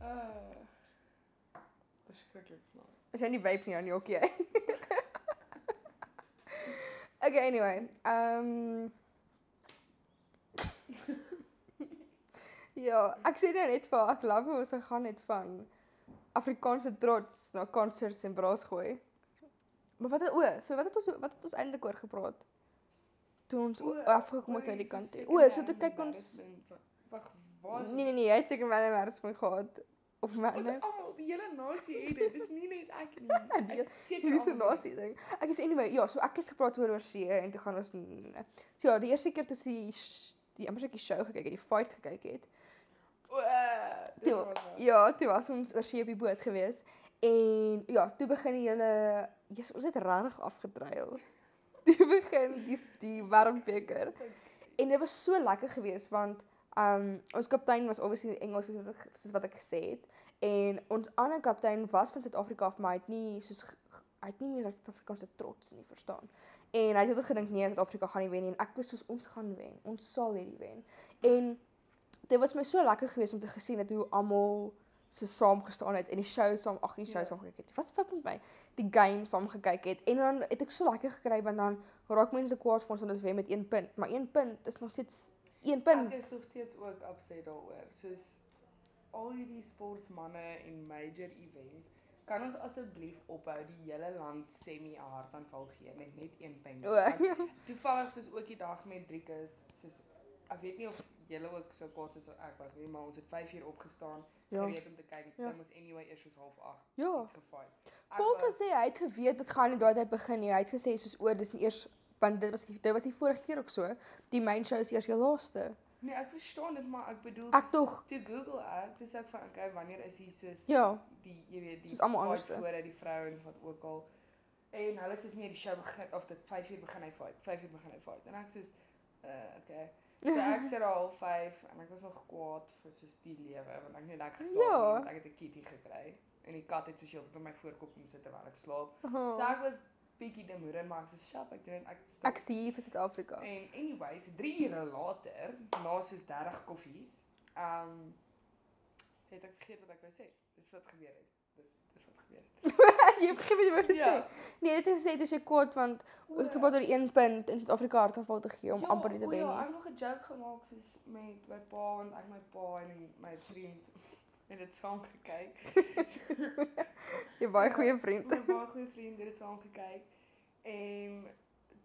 [SPEAKER 2] Uh, Verskriklik snaaks.
[SPEAKER 1] Is jy nie vape nie, Annie, okay. okay, anyway. Ehm um, Ja, ek sê nou net vir ek love hoe ons gegaan het van Afrikaanse trots na konserts en braas gooi. Maar wat het o, so wat het ons wat het ons eintlik oor gepraat? Toe ons o,
[SPEAKER 2] O,
[SPEAKER 1] afgekom
[SPEAKER 2] oor
[SPEAKER 1] het aan die
[SPEAKER 2] hierdie
[SPEAKER 1] kant toe. O,
[SPEAKER 2] secondary
[SPEAKER 1] so toe kyk ons
[SPEAKER 2] embarrassment van- Wag, waar is
[SPEAKER 1] Nee nee nee, jy het seker my nerves van gehad of nee. my
[SPEAKER 2] Ons
[SPEAKER 1] my-
[SPEAKER 2] almal, die hele nasie het dit. Dis nie net ek nie. Ek
[SPEAKER 1] die-
[SPEAKER 2] is seker
[SPEAKER 1] Hierdie so
[SPEAKER 2] almal het
[SPEAKER 1] nasie
[SPEAKER 2] dit.
[SPEAKER 1] ding. Ek is anyway, ja, so ek het gepraat oor oor see en toe gaan ons so ja, die eerste keer toe sy die amper seker show gekyk het, die fight gekyk het.
[SPEAKER 2] O, eh, dit
[SPEAKER 1] Toe,
[SPEAKER 2] was wel.
[SPEAKER 1] ja, toe was ons oor see op die boot gewees en ja, toe begin die hele Jesus, ons het regtig afgedruil. Toe begin die die warmbeker. En dit was so lekker geweest want um ons kaptein was obviously Engels soos wat ek- soos wat ek gesê het en ons ander kaptein was van Suid-Afrika af maar hy het nie soos ge- ge- hy het nie meer as Suid-Afrikaanse trots nie verstaan. En hy het altyd gedink nee, Suid-Afrika gaan nie wen nie en ek was soos ons gaan wen. Ons sal hierdie wen. En dit was my so lekker geweest om te gesien het hoe almal so saam gestaan het en die show saam, ag nie die show
[SPEAKER 2] Ja.
[SPEAKER 1] saam gekyk het. Wat se fout met my? Die game saam gekyk het en dan het ek so lekker gekry want dan raak mense kwaad vir ons omdat ons wen met 1 punt, maar 1 punt is nog steeds 1 punt.
[SPEAKER 2] Ek is nog steeds ook upset daaroor. Soos al hierdie sportmense en major events, kan ons asseblief ophou die hele land semi 'n hartaanval gee met net een ping.
[SPEAKER 1] O.
[SPEAKER 2] Want Toevallig soos ook die dag met Driekus, soos ek weet nie of julle ook so kwaad is as ek was nie, maar ons het 5 uur opgestaan, ja.
[SPEAKER 1] Ja.
[SPEAKER 2] gereed om te kyk. Ja.
[SPEAKER 1] Ja.
[SPEAKER 2] Dan moes anyway eers soos half 8
[SPEAKER 1] Ja.
[SPEAKER 2] iets gefight. Ek
[SPEAKER 1] Paul
[SPEAKER 2] was-
[SPEAKER 1] het gesê hy het geweet dit gaan nie daai tyd begin nie. Hy het gesê soos o, dis nie eers want dit was die- dit was die vorige keer ook so. Die main show is eers die laaste.
[SPEAKER 2] Nee, ek verstaan dit, maar ek bedoel
[SPEAKER 1] Ek
[SPEAKER 2] soos-
[SPEAKER 1] tog.
[SPEAKER 2] Toe Google ek, dis ek van okay, wanneer is hier soos
[SPEAKER 1] Ja.
[SPEAKER 2] die jy weet die
[SPEAKER 1] Soos allemaal
[SPEAKER 2] fight
[SPEAKER 1] anderste.
[SPEAKER 2] voor die vrouens wat ook al en hulle sê nee, die show begin of dit 5 uur begin hy fight, 5 uur begin hy fight. En ek sê uh okay. So ek sit er al 5 en ek was nog kwaad vir soos die lewe want ek het net lekker geslaap
[SPEAKER 1] Ja.
[SPEAKER 2] ja. want ek het 'n kitty gekry en die kat het soos heeltyd op my voorkop kom sit terwyl ek slaap. So
[SPEAKER 1] Oh.
[SPEAKER 2] ek was bietjie demoeder maar ek sê shop ek doen dit, ek stop.
[SPEAKER 1] Ek sien hier vir Suid-Afrika.
[SPEAKER 2] En anyway, so 3 ure later, na soos 30 koffies, ehm um, het ek vergeet wat ek wou sê. Dis wat gebeur het. Dis dis wat gebeur het.
[SPEAKER 1] jy het gegee wat jy wou sê.
[SPEAKER 2] Ja.
[SPEAKER 1] Nee, dit is sê dis jy kwaad want ons het gepraat oor 1 punt in Suid-Afrika hartaanval te gee om
[SPEAKER 2] Ja,
[SPEAKER 1] amper nie te
[SPEAKER 2] o
[SPEAKER 1] wen
[SPEAKER 2] Ja,
[SPEAKER 1] nie.
[SPEAKER 2] ek het nog 'n joke gemaak soos met my pa want ek my pa en my vriend het dit saam gekyk.
[SPEAKER 1] Jy baie
[SPEAKER 2] Ja.
[SPEAKER 1] goeie vriend.
[SPEAKER 2] My baie goeie vriend het dit saam gekyk en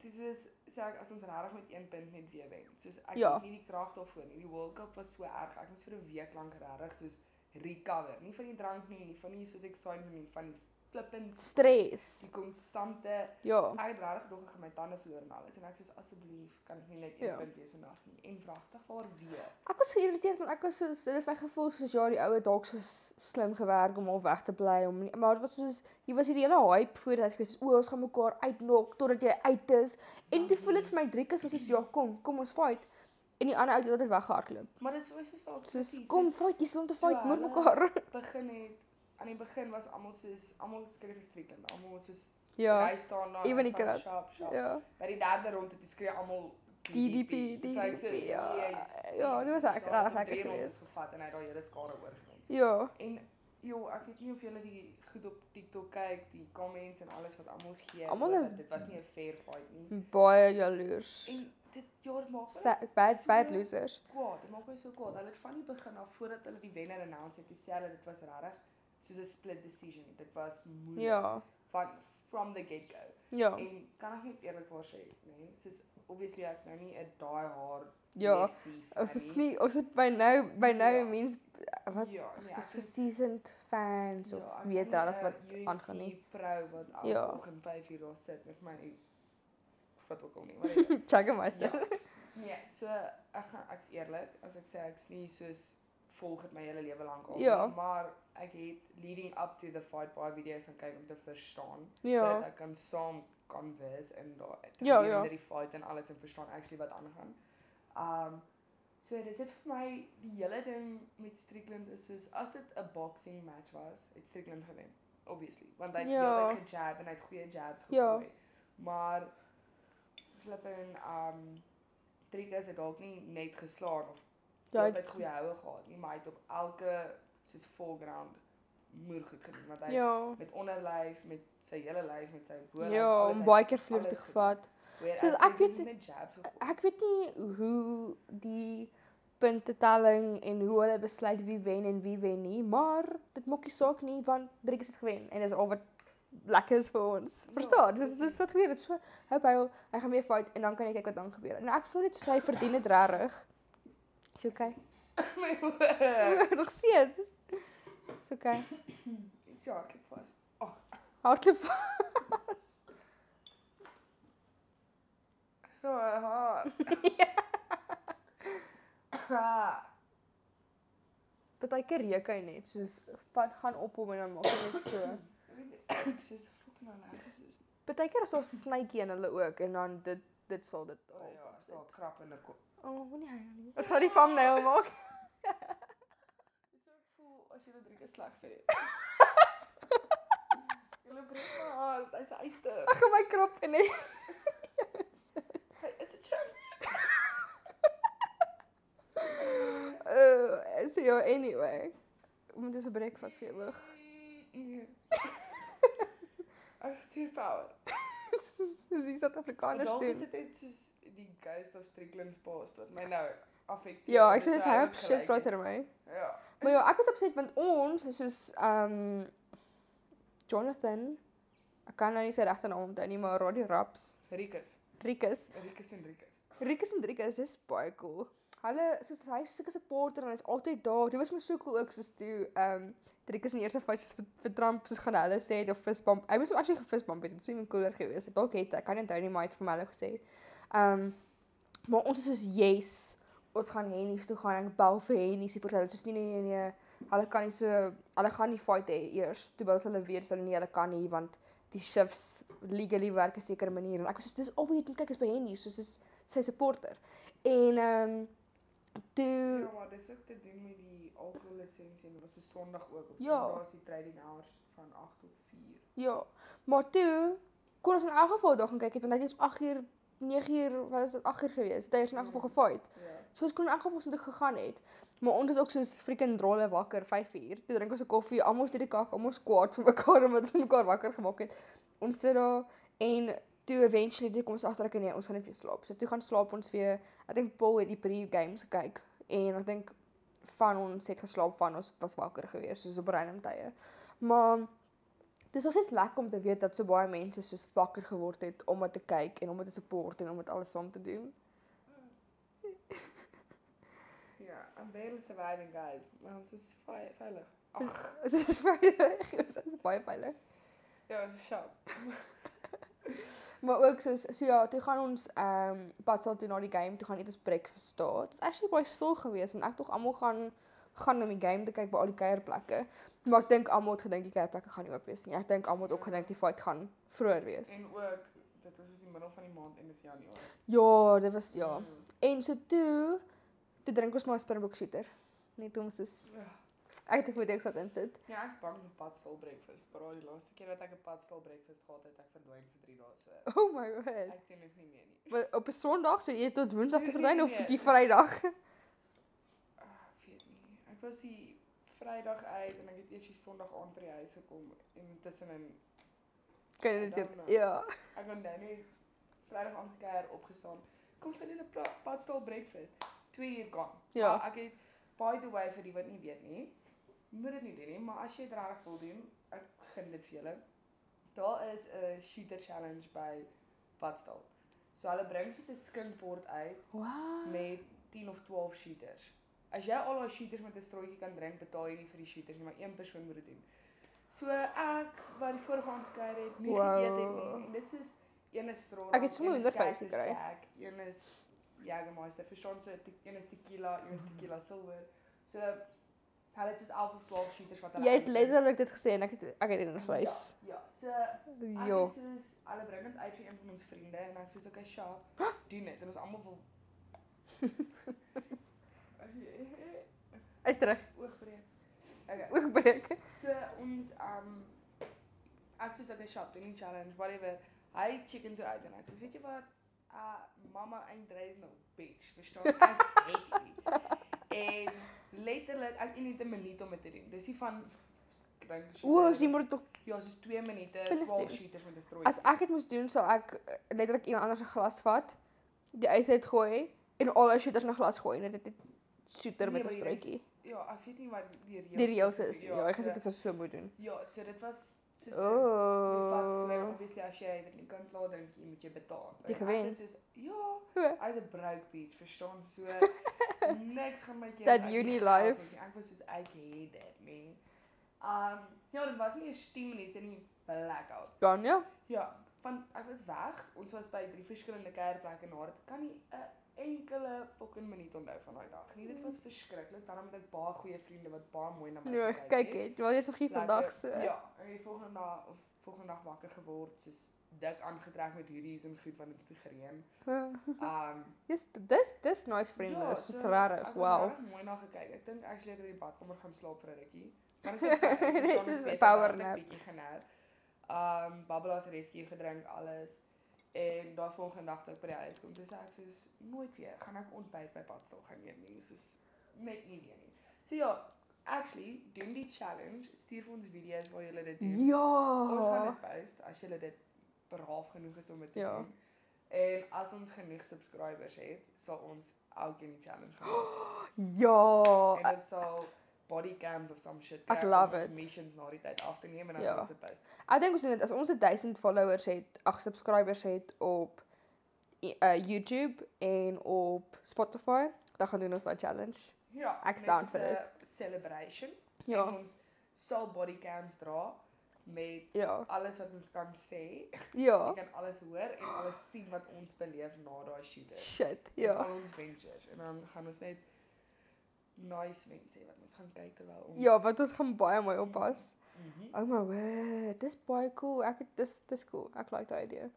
[SPEAKER 2] dis is sê ek as ons regtig met een punt net weer wen. Soos ek
[SPEAKER 1] Ja.
[SPEAKER 2] het nie die krag daarvoor nie. Die World Cup was so erg. Ek moes vir 'n week lank regtig soos recover. Nie van die drank nie, nie van die soos excitement nie, van die flippend
[SPEAKER 1] Stres.
[SPEAKER 2] die konstante.
[SPEAKER 1] Ja.
[SPEAKER 2] Ek het regtig nog my tande verloor en alles en ek soos asseblief kan dit nie net een
[SPEAKER 1] Ja.
[SPEAKER 2] ja. punt wees vandag nie. En pragtig waar weer.
[SPEAKER 1] Ek was geïrriteerd want ek was soos dit het my gevoel soos ja, die oue dalk so s- slim gewerk om al weg te bly om nie, maar dit was soos hier was hierdie hele hype voor dat gewees o, ons gaan mekaar uitnok totdat jy uit is. En toe voel dit vir my driekus was soos ja, kom, kom ons fight. En die ander ou het altyd weggehardloop.
[SPEAKER 2] Maar dis hoe so staat
[SPEAKER 1] Soos kom fight, jy's om te fight,
[SPEAKER 2] Ja,
[SPEAKER 1] moet
[SPEAKER 2] hulle-
[SPEAKER 1] mekaar.
[SPEAKER 2] begin het aan die begin was almal soos almal skree verstrikkend. Almal soos
[SPEAKER 1] Ja.
[SPEAKER 2] Hy staan daar.
[SPEAKER 1] Even
[SPEAKER 2] hy
[SPEAKER 1] die
[SPEAKER 2] staan
[SPEAKER 1] krat.
[SPEAKER 2] Sharp, sharp. Ja.
[SPEAKER 1] Ja.
[SPEAKER 2] By die derde ronde het skree almal
[SPEAKER 1] DDP, DDP, ja. Ja, dit was ek raar lekker geweest.
[SPEAKER 2] Gevat en hy het daai hele skare oorgeneem.
[SPEAKER 1] Ja.
[SPEAKER 2] En jo, ek weet nie of julle die goed op TikTok kyk, die comments en alles wat almal gee.
[SPEAKER 1] Almal
[SPEAKER 2] oor
[SPEAKER 1] is-
[SPEAKER 2] dat dit was nie 'n fair fight nie.
[SPEAKER 1] Baie jaloers.
[SPEAKER 2] En dit jaar maak my
[SPEAKER 1] Sa- Bad bad
[SPEAKER 2] so
[SPEAKER 1] losers.
[SPEAKER 2] kwaad. Dit maak my so kwaad. Hulle het van die begin af voordat hulle die wenner announce het, gesê hulle dit was regtig soos 'n split decision. Dit was moeilik
[SPEAKER 1] Ja.
[SPEAKER 2] van from the get go.
[SPEAKER 1] Ja.
[SPEAKER 2] En kan ek net eerlikwaar sê, nee, soos obviously ek's nou nie 'n die haar
[SPEAKER 1] Ja.
[SPEAKER 2] Messi fan
[SPEAKER 1] Ons is nie ons het by nou by nou
[SPEAKER 2] Ja.
[SPEAKER 1] mens wat
[SPEAKER 2] ja, nee,
[SPEAKER 1] soos
[SPEAKER 2] ek is-
[SPEAKER 1] seasoned fans of
[SPEAKER 2] ja, ek's
[SPEAKER 1] weet
[SPEAKER 2] nou
[SPEAKER 1] regtig wat
[SPEAKER 2] nie 'n
[SPEAKER 1] aangaan nie.
[SPEAKER 2] UFC Pro wat elke
[SPEAKER 1] Ja.
[SPEAKER 2] ja. oggend 5 uur daar sit met my wat ook al nie. whatever.
[SPEAKER 1] Check hom as.
[SPEAKER 2] ja. Nee, so ek gaan ek's eerlik as ek sê ek's nie soos volg dit my hele lewe lank al,
[SPEAKER 1] Ja.
[SPEAKER 2] nie, maar ek het leading up to the fight baie video's gaan kyk om te verstaan
[SPEAKER 1] Ja.
[SPEAKER 2] sodat ek kan saam converse en daar
[SPEAKER 1] Ja, ja.
[SPEAKER 2] die fight en alles en verstaan actually wat aangaan. Um so dit is vir my die hele ding met Strickland is soos as dit 'n boxing match was, het Strickland gewen. Obviously, want hy het
[SPEAKER 1] Ja.
[SPEAKER 2] ja. gejab en hy het goeie jabs
[SPEAKER 1] Ja.
[SPEAKER 2] gegooi. Ja. Maar flippin um Driekus het dalk nie net geslaan of
[SPEAKER 1] Ja,
[SPEAKER 2] ja,
[SPEAKER 1] hy-
[SPEAKER 2] dit goeie houe gehad nie, maar hy het op elke soos foreground moer goed gedoen want hy
[SPEAKER 1] Ja.
[SPEAKER 2] met onderlyf, met sy hele lyf, met sy bo.
[SPEAKER 1] Ja, om baie keer vloer toe
[SPEAKER 2] alles
[SPEAKER 1] gevat. soos
[SPEAKER 2] Soos
[SPEAKER 1] ek weet-
[SPEAKER 2] net jabs gegooi.
[SPEAKER 1] Ek weet nie hoe die puntetelling en hoe hulle besluit wie wen en wie wen nie, maar dit maak nie saak nie want Driekus het gewen en dis al wat lekker is vir ons.
[SPEAKER 2] Ja,
[SPEAKER 1] Verstaan? Dis dis
[SPEAKER 2] presies.
[SPEAKER 1] wat gebeur het. So hoop hy al- hy gaan weer fight en dan kan ek kyk wat dan gebeur. En ek voel net soos hy verdien dit regtig. Dis okay.
[SPEAKER 2] My woord.
[SPEAKER 1] Nog steeds. Dis okay.
[SPEAKER 2] Ja, ek klip vas. Ag,
[SPEAKER 1] Hardloop. vas.
[SPEAKER 2] so hard. Ja.
[SPEAKER 1] Partykeer reuk hy net soos pad gaan op hom en dan maak hy net so.
[SPEAKER 2] Ek soos fucking allergies is.
[SPEAKER 1] Partykeer is daar snytjie in hulle ook en dan dit dit sal dit
[SPEAKER 2] O ja,
[SPEAKER 1] half
[SPEAKER 2] so
[SPEAKER 1] opsit.
[SPEAKER 2] krap in die kop.
[SPEAKER 1] Oh, moenie hy nie. Ons gaan die thumbnail maak.
[SPEAKER 2] Dis hoe ek voel as jy dit drie slag sê. Julle breek my hart, hy's eiste.
[SPEAKER 1] Ek gaan my krop en net
[SPEAKER 2] Hy is 'n champ.
[SPEAKER 1] uh, Yo, anyway. Ek moet dus 'n breek vat vir jou hoog.
[SPEAKER 2] Nee. Ag, dit power.
[SPEAKER 1] Dis dis die Suid-Afrikaners
[SPEAKER 2] Dalk is
[SPEAKER 1] doen.
[SPEAKER 2] dit net soos die ghost of Strickland's past wat my nou affekteer.
[SPEAKER 1] Ja, ek
[SPEAKER 2] dis
[SPEAKER 1] sê dis
[SPEAKER 2] hoe hy
[SPEAKER 1] hyp
[SPEAKER 2] dit
[SPEAKER 1] shit
[SPEAKER 2] gelyk
[SPEAKER 1] praat
[SPEAKER 2] het.
[SPEAKER 1] oor my.
[SPEAKER 2] Ja.
[SPEAKER 1] Maar ja, ek was opset want ons is soos um Jonathan ek kan nou nie sy regte naam onthou nie, maar Radio Raps,
[SPEAKER 2] Rikus.
[SPEAKER 1] Rikus.
[SPEAKER 2] Rikus en Rikus.
[SPEAKER 1] Rikus en Rikus is baie cool. Hulle soos hy is sulke supporter en hy's altyd daar. Dit was my so cool ook soos toe um Rikus in die eerste fight soos vir, vir Trump soos gaan hulle sê het of fistbump. Hy moes hom actually gefistbump het. Dit sou iemand cooler gewees het. Dalk het ek kan nie onthou nie, maar hy het vir my hulle gesê. Um maar ons is soos yes. Ons gaan Hennies toe gaan en ek bel vir Hennies. Hy vertel soos nee nee nee nee. Hulle kan nie so hulle gaan nie fight hê eers. Toe was hulle weet so hulle nee, hulle kan nie want die shifts legally werk 'n sekere manier en ek was soos dis al wat jy moet kyk is by Hennies soos is sy supporter. En ehm um, toe
[SPEAKER 2] Ja, maar dis ook te doen met die alkohollisensie en dit was 'n Sondag ook op
[SPEAKER 1] Ja.
[SPEAKER 2] Sondag is die trading hours van 8 tot 4.
[SPEAKER 1] ja, maar toe kon ons in elk geval daar gaan kyk het want hy het eers 8 uur 9 uur wat is dit 8 uur gewees. Dit is in elk geval gefight.
[SPEAKER 2] Ja.
[SPEAKER 1] So ons kon in elk geval soontoe gegaan het. Maar ons is ook soos freaking drolle wakker 5 uur. Toe drink ons 'n koffie, almal is deur die kak, almal is kwaad vir mekaar omdat ons mekaar wakker gemaak het. Ons sit daar en toe eventually toe kom ons agter ek nee, ons gaan net weer slaap. So toe gaan slaap ons weer. Ek dink Paul het die pre-games gekyk en ek dink van ons het geslaap van ons was wakker gewees soos op random tye. Maar dis ons is lekker om te weet dat so baie mense soos wakker geword het om dit te kyk en om dit te support en om dit alles saam te doen.
[SPEAKER 2] Ja, I'm barely surviving guys. Maar ons is vei- veilig. Ag,
[SPEAKER 1] Dit is veilig, dit is baie veilig.
[SPEAKER 2] ja, ons is sharp.
[SPEAKER 1] Maar ook soos so ja, toe gaan ons ehm um, padsal toe na die game, toe gaan eet ons breakfast daar. Dit's actually baie stil geweest en ek tog almal gaan gaan om die game te kyk by al die kuierplekke. Maar ek dink almal het gedink die kuierplekke gaan nie oop wees nie. Ek dink almal het ook gedink die fight gaan vroeër wees.
[SPEAKER 2] En ook dit was soos die middel van die maand en dit is Januarie.
[SPEAKER 1] Ja, dit was ja.
[SPEAKER 2] Mm.
[SPEAKER 1] En so toe toe drink ons maar 'n Springbok shooter. Net om soos
[SPEAKER 2] Ja.
[SPEAKER 1] ek het gevoel ek sou insit.
[SPEAKER 2] Ja, ek's bang vir padstal breakfast. Maar al die laaste keer dat ek 'n padstal breakfast gehad het, ek verdwyn vir 3 dae so.
[SPEAKER 1] Oh my god.
[SPEAKER 2] Ek doen dit nie meer nie.
[SPEAKER 1] Maar op 'n Sondag, so jy tot Woensdag te
[SPEAKER 2] Nee,
[SPEAKER 1] verdwyn
[SPEAKER 2] nee,
[SPEAKER 1] of
[SPEAKER 2] nee,
[SPEAKER 1] die
[SPEAKER 2] dis-
[SPEAKER 1] Vrydag.
[SPEAKER 2] Ah, ek weet nie. Ek was die Vrydag uit en ek het eers die Sondag aan by die huis gekom en intussenin
[SPEAKER 1] Kan jy dit
[SPEAKER 2] Dan, eh,
[SPEAKER 1] ja.
[SPEAKER 2] ek kon dan nie Vrydag aan gekuier opgestaan. Kom vir julle pra- padstal breakfast. 2 uur gaan.
[SPEAKER 1] Ja.
[SPEAKER 2] Maar ek het by the way vir die wat nie weet nie. Moet dit nie doen nie, maar as jy dit regtig wil doen, ek gun dit vir julle. Daar is 'n shooter challenge by Padstal. So hulle bring soos 'n skinkbord uit
[SPEAKER 1] Wow.
[SPEAKER 2] met 10 of 12 shooters. As jy al daai shooters met 'n strootjie kan drink, betaal jy nie vir die shooters nie, maar een persoon moet dit doen. So ek wat die vorige aand gekyk het, nie wow. geëet het
[SPEAKER 1] Wow.
[SPEAKER 2] nie. En dit is soos een is straal.
[SPEAKER 1] Ek het sommer hoendervleis gekry.
[SPEAKER 2] Een is Jagermeister, verstaan so te- een is tequila, een is tequila silver. So hulle het soos 11 of 12 shooters wat hulle
[SPEAKER 1] Jy het
[SPEAKER 2] uitbring.
[SPEAKER 1] letterlik dit gesê en ek het ek het in vleis.
[SPEAKER 2] Ja, ja. So Ek
[SPEAKER 1] Jo.
[SPEAKER 2] is soos alle bring dit uit vir een van ons vriende en ek soos okay, sja, doen dit en ons almal wil
[SPEAKER 1] Hy's terug.
[SPEAKER 2] oogbreek. Okay.
[SPEAKER 1] Oogbreek.
[SPEAKER 2] So ons um ek soos okay, sja, doen die challenge, whatever. Hy chicken toe uit en ek soos weet jy wat? Uh mamma eindreis nou bitch, verstaan ek het dit. En letterlik ek het net 'n minuut om dit te doen. Dis nie van dink
[SPEAKER 1] O, as jy moet dit tog
[SPEAKER 2] Ja, soos 2 minute,
[SPEAKER 1] Vinnig
[SPEAKER 2] 12
[SPEAKER 1] doen.
[SPEAKER 2] shooters met 'n strooi.
[SPEAKER 1] as ek dit moes doen sou ek eh, letterlik iemand anders se glas vat, die ys uitgooi en al hy shooters in 'n glas gooi en dit het net shooter
[SPEAKER 2] Nee,
[SPEAKER 1] met 'n
[SPEAKER 2] maar jy-
[SPEAKER 1] strootjie.
[SPEAKER 2] Ja, ek weet nie wat die reëls
[SPEAKER 1] Die reëls is
[SPEAKER 2] spesifiek-
[SPEAKER 1] ja, ek
[SPEAKER 2] so-
[SPEAKER 1] gesê dit sou so moet doen.
[SPEAKER 2] Ja, so dit was soos oh. vat so en
[SPEAKER 1] O.
[SPEAKER 2] obviously as jy dit nie kan klaar drink jy moet jy betaal.
[SPEAKER 1] Jy
[SPEAKER 2] En
[SPEAKER 1] gewen.
[SPEAKER 2] Ek is soos ja,
[SPEAKER 1] O.
[SPEAKER 2] uit 'n bruik beach, verstaan so niks gaan my keer.
[SPEAKER 1] Dat
[SPEAKER 2] uit
[SPEAKER 1] uni
[SPEAKER 2] die geld
[SPEAKER 1] life.
[SPEAKER 2] uit nie. Ek was soos ek het dit nie. Um ja, dit was nie eens 10 minute in die blackout.
[SPEAKER 1] Dan ja.
[SPEAKER 2] Ja, van ek was weg. Ons was by drie verskillende kuierplekke na dit. Kan nie 'n enkele fucking minuut onthou van daai dag nie. Dit
[SPEAKER 1] Mm.
[SPEAKER 2] was verskriklik. Daarom het ek baie goeie vriende wat baie mooi na my
[SPEAKER 1] Nou
[SPEAKER 2] gekyk
[SPEAKER 1] kyk het, wel jy's nog hier
[SPEAKER 2] Lekker.
[SPEAKER 1] vandag so.
[SPEAKER 2] Ja, en die volgende dag of volgende dag wakker geword, soos dik aangetrek met hoodies en goed want dit het gereën. Um
[SPEAKER 1] Dis Ja. dis dis nice vriende, is soos rarig. Wow.
[SPEAKER 2] Ja, Ek het mooi na gekyk. Ek dink actually ek het in die badkamer gaan slaap vir 'n rukkie. Maar dis okay.
[SPEAKER 1] Net
[SPEAKER 2] Dit
[SPEAKER 1] soos
[SPEAKER 2] is 'n
[SPEAKER 1] power nap.
[SPEAKER 2] Bietjie generf. Um Babbela's rescue gedrink alles en daar volgende dag toe ek by die huis kom, dis ek soos nooit weer gaan ek ontbyt by Padstal gaan eet nie, soos net nie weer nie. So ja, actually, doen die challenge. Stuur vir ons video's waar julle dit doen. Ons gaan
[SPEAKER 1] Ja.
[SPEAKER 2] dit post as julle dit braaf genoeg is om dit te
[SPEAKER 1] Ja.
[SPEAKER 2] doen. En as ons genoeg subscribers het, sal ons elkeen die challenge gaan doen.
[SPEAKER 1] Ja.
[SPEAKER 2] En dit sal body cams of some shit
[SPEAKER 1] Ek
[SPEAKER 2] om
[SPEAKER 1] love
[SPEAKER 2] ons
[SPEAKER 1] it.
[SPEAKER 2] missions na die tyd af te neem en dan
[SPEAKER 1] Ja.
[SPEAKER 2] ja. ons dit post.
[SPEAKER 1] Ek dink ons doen dit as ons 1000 followers het, ag subscribers het op i- eh, YouTube en op Spotify, dan gaan doen ons daai challenge.
[SPEAKER 2] Ja,
[SPEAKER 1] Ek is
[SPEAKER 2] net
[SPEAKER 1] down
[SPEAKER 2] soos
[SPEAKER 1] vir
[SPEAKER 2] 'n Celebration.
[SPEAKER 1] Ja.
[SPEAKER 2] En ons sal body cams dra met
[SPEAKER 1] Ja.
[SPEAKER 2] alles wat ons kan sê.
[SPEAKER 1] Ja.
[SPEAKER 2] Jy kan alles hoor en alles sien wat ons beleef na daai shoot. is.
[SPEAKER 1] Shit.
[SPEAKER 2] En
[SPEAKER 1] Ja.
[SPEAKER 2] Al ons ventures en dan gaan ons net nice mense hê wat ons gaan kyk terwyl ons
[SPEAKER 1] Ja, want ons gaan baie mooi oppas.
[SPEAKER 2] Mm -hmm.
[SPEAKER 1] Oh my word, dis baie cool. Ek het dis dis cool. Ek like daai idee.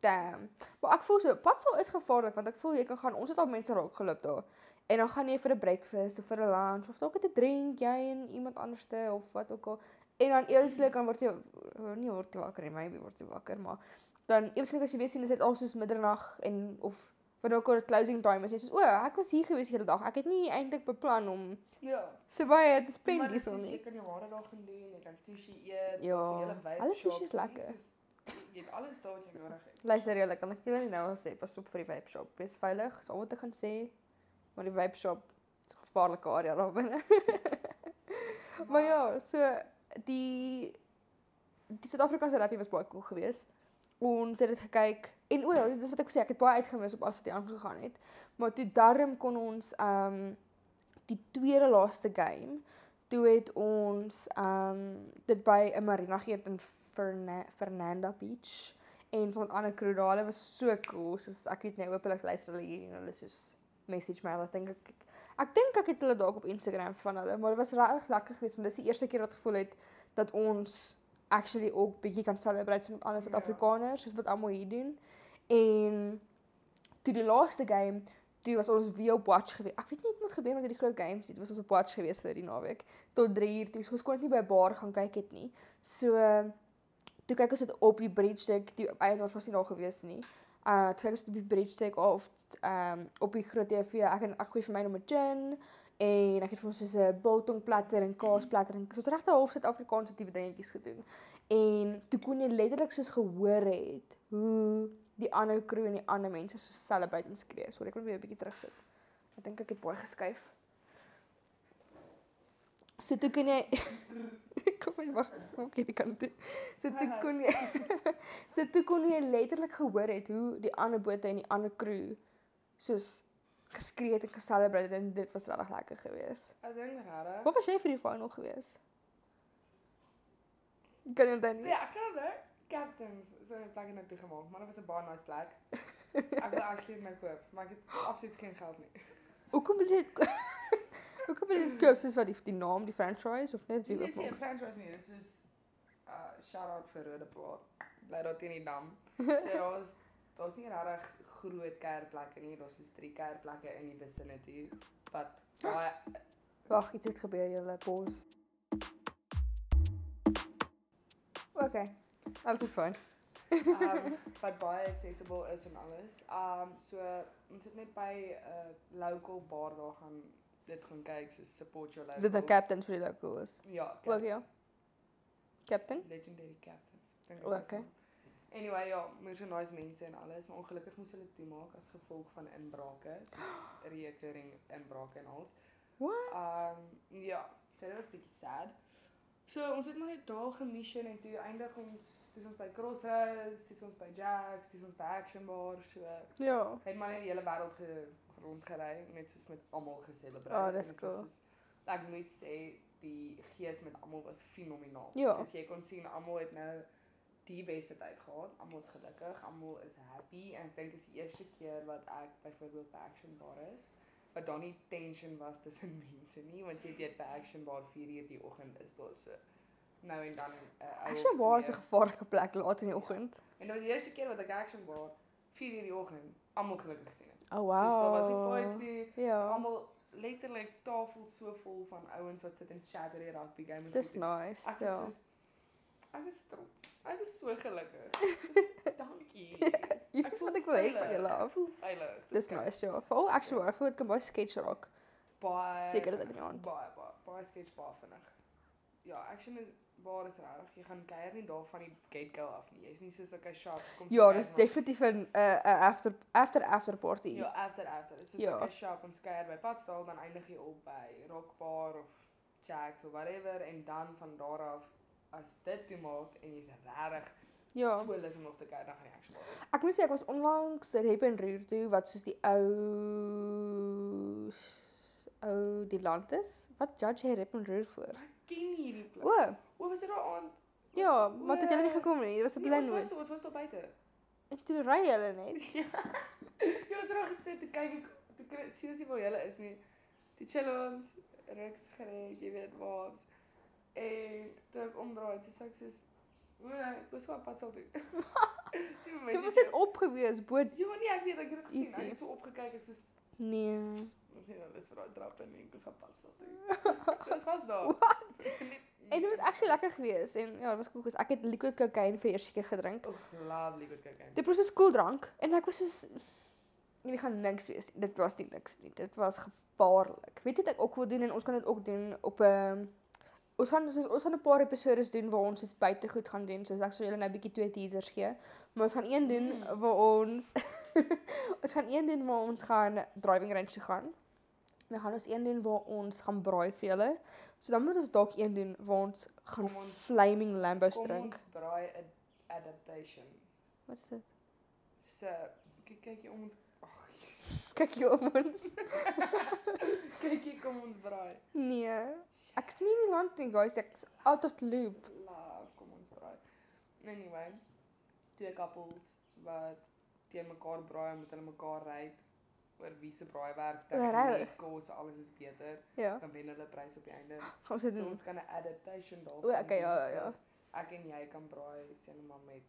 [SPEAKER 1] Damn. Maar ek voel so, Patsel is gevaarlik want ek voel jy kan gaan. Ons het al mense raakgeloop daar. En dan gaan jy vir 'n breakfast of vir 'n lunch of dalk net 'n drink jy en iemand anderste of wat ook al. En dan eweslik dan word jy oh, nie word jy wakker nie, maybe word jy wakker, maar dan eweslik as jy weer sien is dit al soos middernag en of wanneer ook al die closing time is, jy sê soos, o, ek was hier gewees hierdie dag. Ek het nie eintlik beplan om
[SPEAKER 2] Ja.
[SPEAKER 1] so baie te
[SPEAKER 2] Maar
[SPEAKER 1] spend
[SPEAKER 2] dis
[SPEAKER 1] hierson
[SPEAKER 2] soos
[SPEAKER 1] nie.
[SPEAKER 2] Jy kan jou hare daar gaan doen, jy kan sushi eet,
[SPEAKER 1] Ja,
[SPEAKER 2] daar's 'n hele vibe
[SPEAKER 1] alle sushi
[SPEAKER 2] shop,
[SPEAKER 1] is
[SPEAKER 2] dis nie
[SPEAKER 1] lekker.
[SPEAKER 2] soos- Jy het alles daar wat jy nodig het.
[SPEAKER 1] Luister julle, kan ek julle nie nou al sê pas op vir die vape shop. Wees veilig, is al wat ek gaan sê. Maar die vape shop is 'n gevaarlike area daar binne. maar ja, so die die Suid-Afrikaanse rappie was baie cool geweest. Ons het dit gekyk en o, ja, dis wat ek sê, ek het baie uitgemis op alles wat hy aangegaan het. Maar toe darm kon ons ehm um, die tweede laaste game toe het ons ehm um, dit by 'n marina geëet in Ferna Fernanda Beach en so 'n ander crew daar. Hulle was so cool. Soos ek weet net openlik luister hulle hier en hulle soos message my. Hulle dink ek ek, ek dink ek het hulle dalk op Instagram van hulle, maar dit was regtig lekker geweest want dis die eerste keer wat ek gevoel het dat ons actually ook bietjie kan celebrate saam met ander
[SPEAKER 2] Ja.
[SPEAKER 1] Suid-Afrikaners soos wat almal hier doen. En toe die laaste game Toe was ons weer op watch gewees. Ek weet nie wat gebeur met hierdie groot games nie. Dit was ons op watch gewees vir die naweek tot 3 uur toe. So ons kon dit nie by 'n bar gaan kyk het nie. So toe kyk ons dit op die bridge deck, die eienaars was nie daar gewees nie. Uh toe kyk ons dit op die bridge deck of ehm um, op die groot TV. Ek en ek gooi vir my nog 'n gin en ek het vir ons so 'n biltong platter en kaas platter en soos regte half Suid-Afrikaanse tipe dingetjies gedoen. En toe kon jy letterlik soos gehoor het hoe die ander crew en die ander mense so celebrate en skree. Sorry, ek moet weer 'n bietjie terugsit. Ek dink ek het baie geskuif. So toe kon jy kom my wag, kom ek hierdie kant toe. So toe kon jy so toe kon jy letterlik gehoor het hoe die ander bote en die ander crew soos geskree het en geselebrate het en dit was regtig lekker geweest.
[SPEAKER 2] Ek dink regtig.
[SPEAKER 1] Wat was jy vir die final geweest? Ek Kan jy onthou nie?
[SPEAKER 2] Ja, ek kan onthou. Captains, so 'n plek net toe gemaak, maar dit was 'n baie nice plek. Ek wil actually dit nou koop, maar ek het absoluut geen geld nie.
[SPEAKER 1] Hoekom wil jy dit Hoekom wil jy dit koop soos wat die, die naam, die franchise of net wie
[SPEAKER 2] Dit
[SPEAKER 1] ook
[SPEAKER 2] is nie 'n
[SPEAKER 1] al?
[SPEAKER 2] franchise nie, dit is uh shout out vir Rode Plaat. Bly daar teen die dam. So daar's daar's nie regtig groot kerkplekke nie, daar's soos drie kerkplekke in die vicinity wat baie
[SPEAKER 1] Wag, iets het gebeur, julle pos. OK. Alles is fyn.
[SPEAKER 2] um, wat baie accessible is en alles. Um so ons het net by 'n uh, local bar daar gaan dit gaan kyk, so support your local.
[SPEAKER 1] Is dit 'n captain vir die locals?
[SPEAKER 2] Ja,
[SPEAKER 1] Wel ja. Captain?
[SPEAKER 2] legendary captains. Ek dink
[SPEAKER 1] O,
[SPEAKER 2] dit is
[SPEAKER 1] oké.
[SPEAKER 2] hom. Anyway, ja, merchandise mense en alles, maar ongelukkig moes hulle toemaak as gevolg van inbrake, soos recurring inbrake en alles.
[SPEAKER 1] What?
[SPEAKER 2] Um ja, so dit was bietjie sad. So ons het maar net daar gemission en toe eindig ons dis ons by Crossroads, dis ons by Jacks, dis ons by Action Bar, so
[SPEAKER 1] Ja.
[SPEAKER 2] het maar net die hele wêreld ge, rondgery, net soos met almal geselebreer.
[SPEAKER 1] Ah,
[SPEAKER 2] En
[SPEAKER 1] dis
[SPEAKER 2] dit was
[SPEAKER 1] cool.
[SPEAKER 2] soos- Ek moet sê die gees met almal was fenomenaal.
[SPEAKER 1] Ja.
[SPEAKER 2] Soos jy kon sien almal het nou die beste tyd gehad. Almal is gelukkig, almal is happy en ek dink is die eerste keer wat ek byvoorbeeld by Action Bar is wat dan nie tension was tussen mense nie, want jy weet by Action Bar 4:00 die oggend is daar so nou en dan 'n uh,
[SPEAKER 1] Ek sien waar is 'n gevaarlike plek laat in die oggend.
[SPEAKER 2] En dit was die eerste keer wat ek Action Bar 4:00 die oggend almal gelukkig gesien het.
[SPEAKER 1] Oh
[SPEAKER 2] Wow. Soos daar was nie fights nie.
[SPEAKER 1] Ja.
[SPEAKER 2] Almal letterlik tafel so vol van ouens wat sit en chat oor die rugby game. en
[SPEAKER 1] Dis
[SPEAKER 2] goed.
[SPEAKER 1] nice.
[SPEAKER 2] Ek was
[SPEAKER 1] Ja.
[SPEAKER 2] soos ek is trots. Ek is so gelukkig. Dankie. Ek
[SPEAKER 1] Iets
[SPEAKER 2] voel
[SPEAKER 1] wat ek wil hê
[SPEAKER 2] veilig.
[SPEAKER 1] van julle af.
[SPEAKER 2] Ek voel veilig.
[SPEAKER 1] Dis nice, ja. Veral actually, ek voel dit kan baie sketch raak
[SPEAKER 2] baie
[SPEAKER 1] Sekere tyd
[SPEAKER 2] vinnig.
[SPEAKER 1] in die aand.
[SPEAKER 2] Baie baie baie skets baie vinnig. Ja, action is baar is regtig. Jy gaan kuier nie daar van die gate go af nie. Jy's nie soos okay, sharp kom.
[SPEAKER 1] Ja,
[SPEAKER 2] skuier
[SPEAKER 1] dis
[SPEAKER 2] na-
[SPEAKER 1] definitief 'n 'n 'n after after after party.
[SPEAKER 2] Ja, after after. Dit is soos
[SPEAKER 1] Ja.
[SPEAKER 2] okay, sharp ons kuier by Padstal dan eindig jy op by Rockbar of Jacks of whatever en dan van daar af as dit toe maak en jy's regtig
[SPEAKER 1] ja.
[SPEAKER 2] so lus om nog te kuier dan gaan jy action baar.
[SPEAKER 1] Ek moet sê ek was onlangs Rep en Roer toe wat soos die ou s- ou die land is. Wat judge jy Rep en Roer voor?
[SPEAKER 2] Ken jy hierdie plek?
[SPEAKER 1] O,
[SPEAKER 2] O, was dit daar aand?
[SPEAKER 1] ja, maar dit het julle nie gekom nie. Dit was 'n
[SPEAKER 2] Nee,
[SPEAKER 1] plan
[SPEAKER 2] ons was
[SPEAKER 1] hoor.
[SPEAKER 2] daar- ons was daar buite.
[SPEAKER 1] En toe ry hulle net.
[SPEAKER 2] Jy was daar gesit te kyk ek te kry sien as jy waar jy is nie. Toe chill ons, ruks gereed, jy weet waar's. En toe ek omdraai, toe sê ek soos, "O, ek was op pad sal toe." toe my
[SPEAKER 1] Dit was
[SPEAKER 2] sister-
[SPEAKER 1] net opgewees bo
[SPEAKER 2] Ja, nee, ek weet ek het dit gesien.
[SPEAKER 1] Easy.
[SPEAKER 2] Ek het so opgekyk, ek soos,
[SPEAKER 1] nee.
[SPEAKER 2] "Ons sien alles vir daai trap en ek was op pad sal toe." So dit was daar. Ons het net-
[SPEAKER 1] En dit was actually lekker geweest en ja, dit was cool geweest. Ek het liquid cocaine vir eers keer gedrink.
[SPEAKER 2] Oh, lovely good kyk.
[SPEAKER 1] Dit was so cool drank en ek was soos jy gaan niks wees. nie. Dit was nie niks nie. Dit was gevaarlik. Weet jy wat ek ook wil doen en ons kan dit ook doen op 'n ons gaan soos, ons gaan 'n paar episodes doen waar ons soos buite goed gaan doen. Soos ek sal julle nou 'n bietjie twee teasers gee, maar ons gaan een doen
[SPEAKER 2] Mm.
[SPEAKER 1] mm. waar ons ons gaan een doen waar ons gaan driving range toe gaan. En dan gaan ons een doen waar ons gaan braai vir julle. So dan moet ons dalk een doen waar ons gaan
[SPEAKER 2] Kom ons-
[SPEAKER 1] flaming lambos
[SPEAKER 2] Kom
[SPEAKER 1] drink.
[SPEAKER 2] ons braai 'n adaptation.
[SPEAKER 1] Wat is dit?
[SPEAKER 2] So kyk kyk jy om ons
[SPEAKER 1] Kyk hier om ons.
[SPEAKER 2] kyk jy kom ons braai.
[SPEAKER 1] Nee. Ek's nie in die land nie, guys. Ek's out of the loop.
[SPEAKER 2] Love, kom ons braai. Anyway, twee koppels wat teen mekaar braai en met hulle mekaar ry oor wie se
[SPEAKER 1] Ja,
[SPEAKER 2] braaiwerk
[SPEAKER 1] regtig?
[SPEAKER 2] kos alles is beter,
[SPEAKER 1] Ja.
[SPEAKER 2] dan wen hulle prys op die einde.
[SPEAKER 1] Gaan ons dit
[SPEAKER 2] So
[SPEAKER 1] doen?
[SPEAKER 2] ons kan 'n adaptation daarvan.
[SPEAKER 1] Mm. O, okay, ja,
[SPEAKER 2] doen,
[SPEAKER 1] ja, ja.
[SPEAKER 2] soos Ek en jy kan braai sien maar met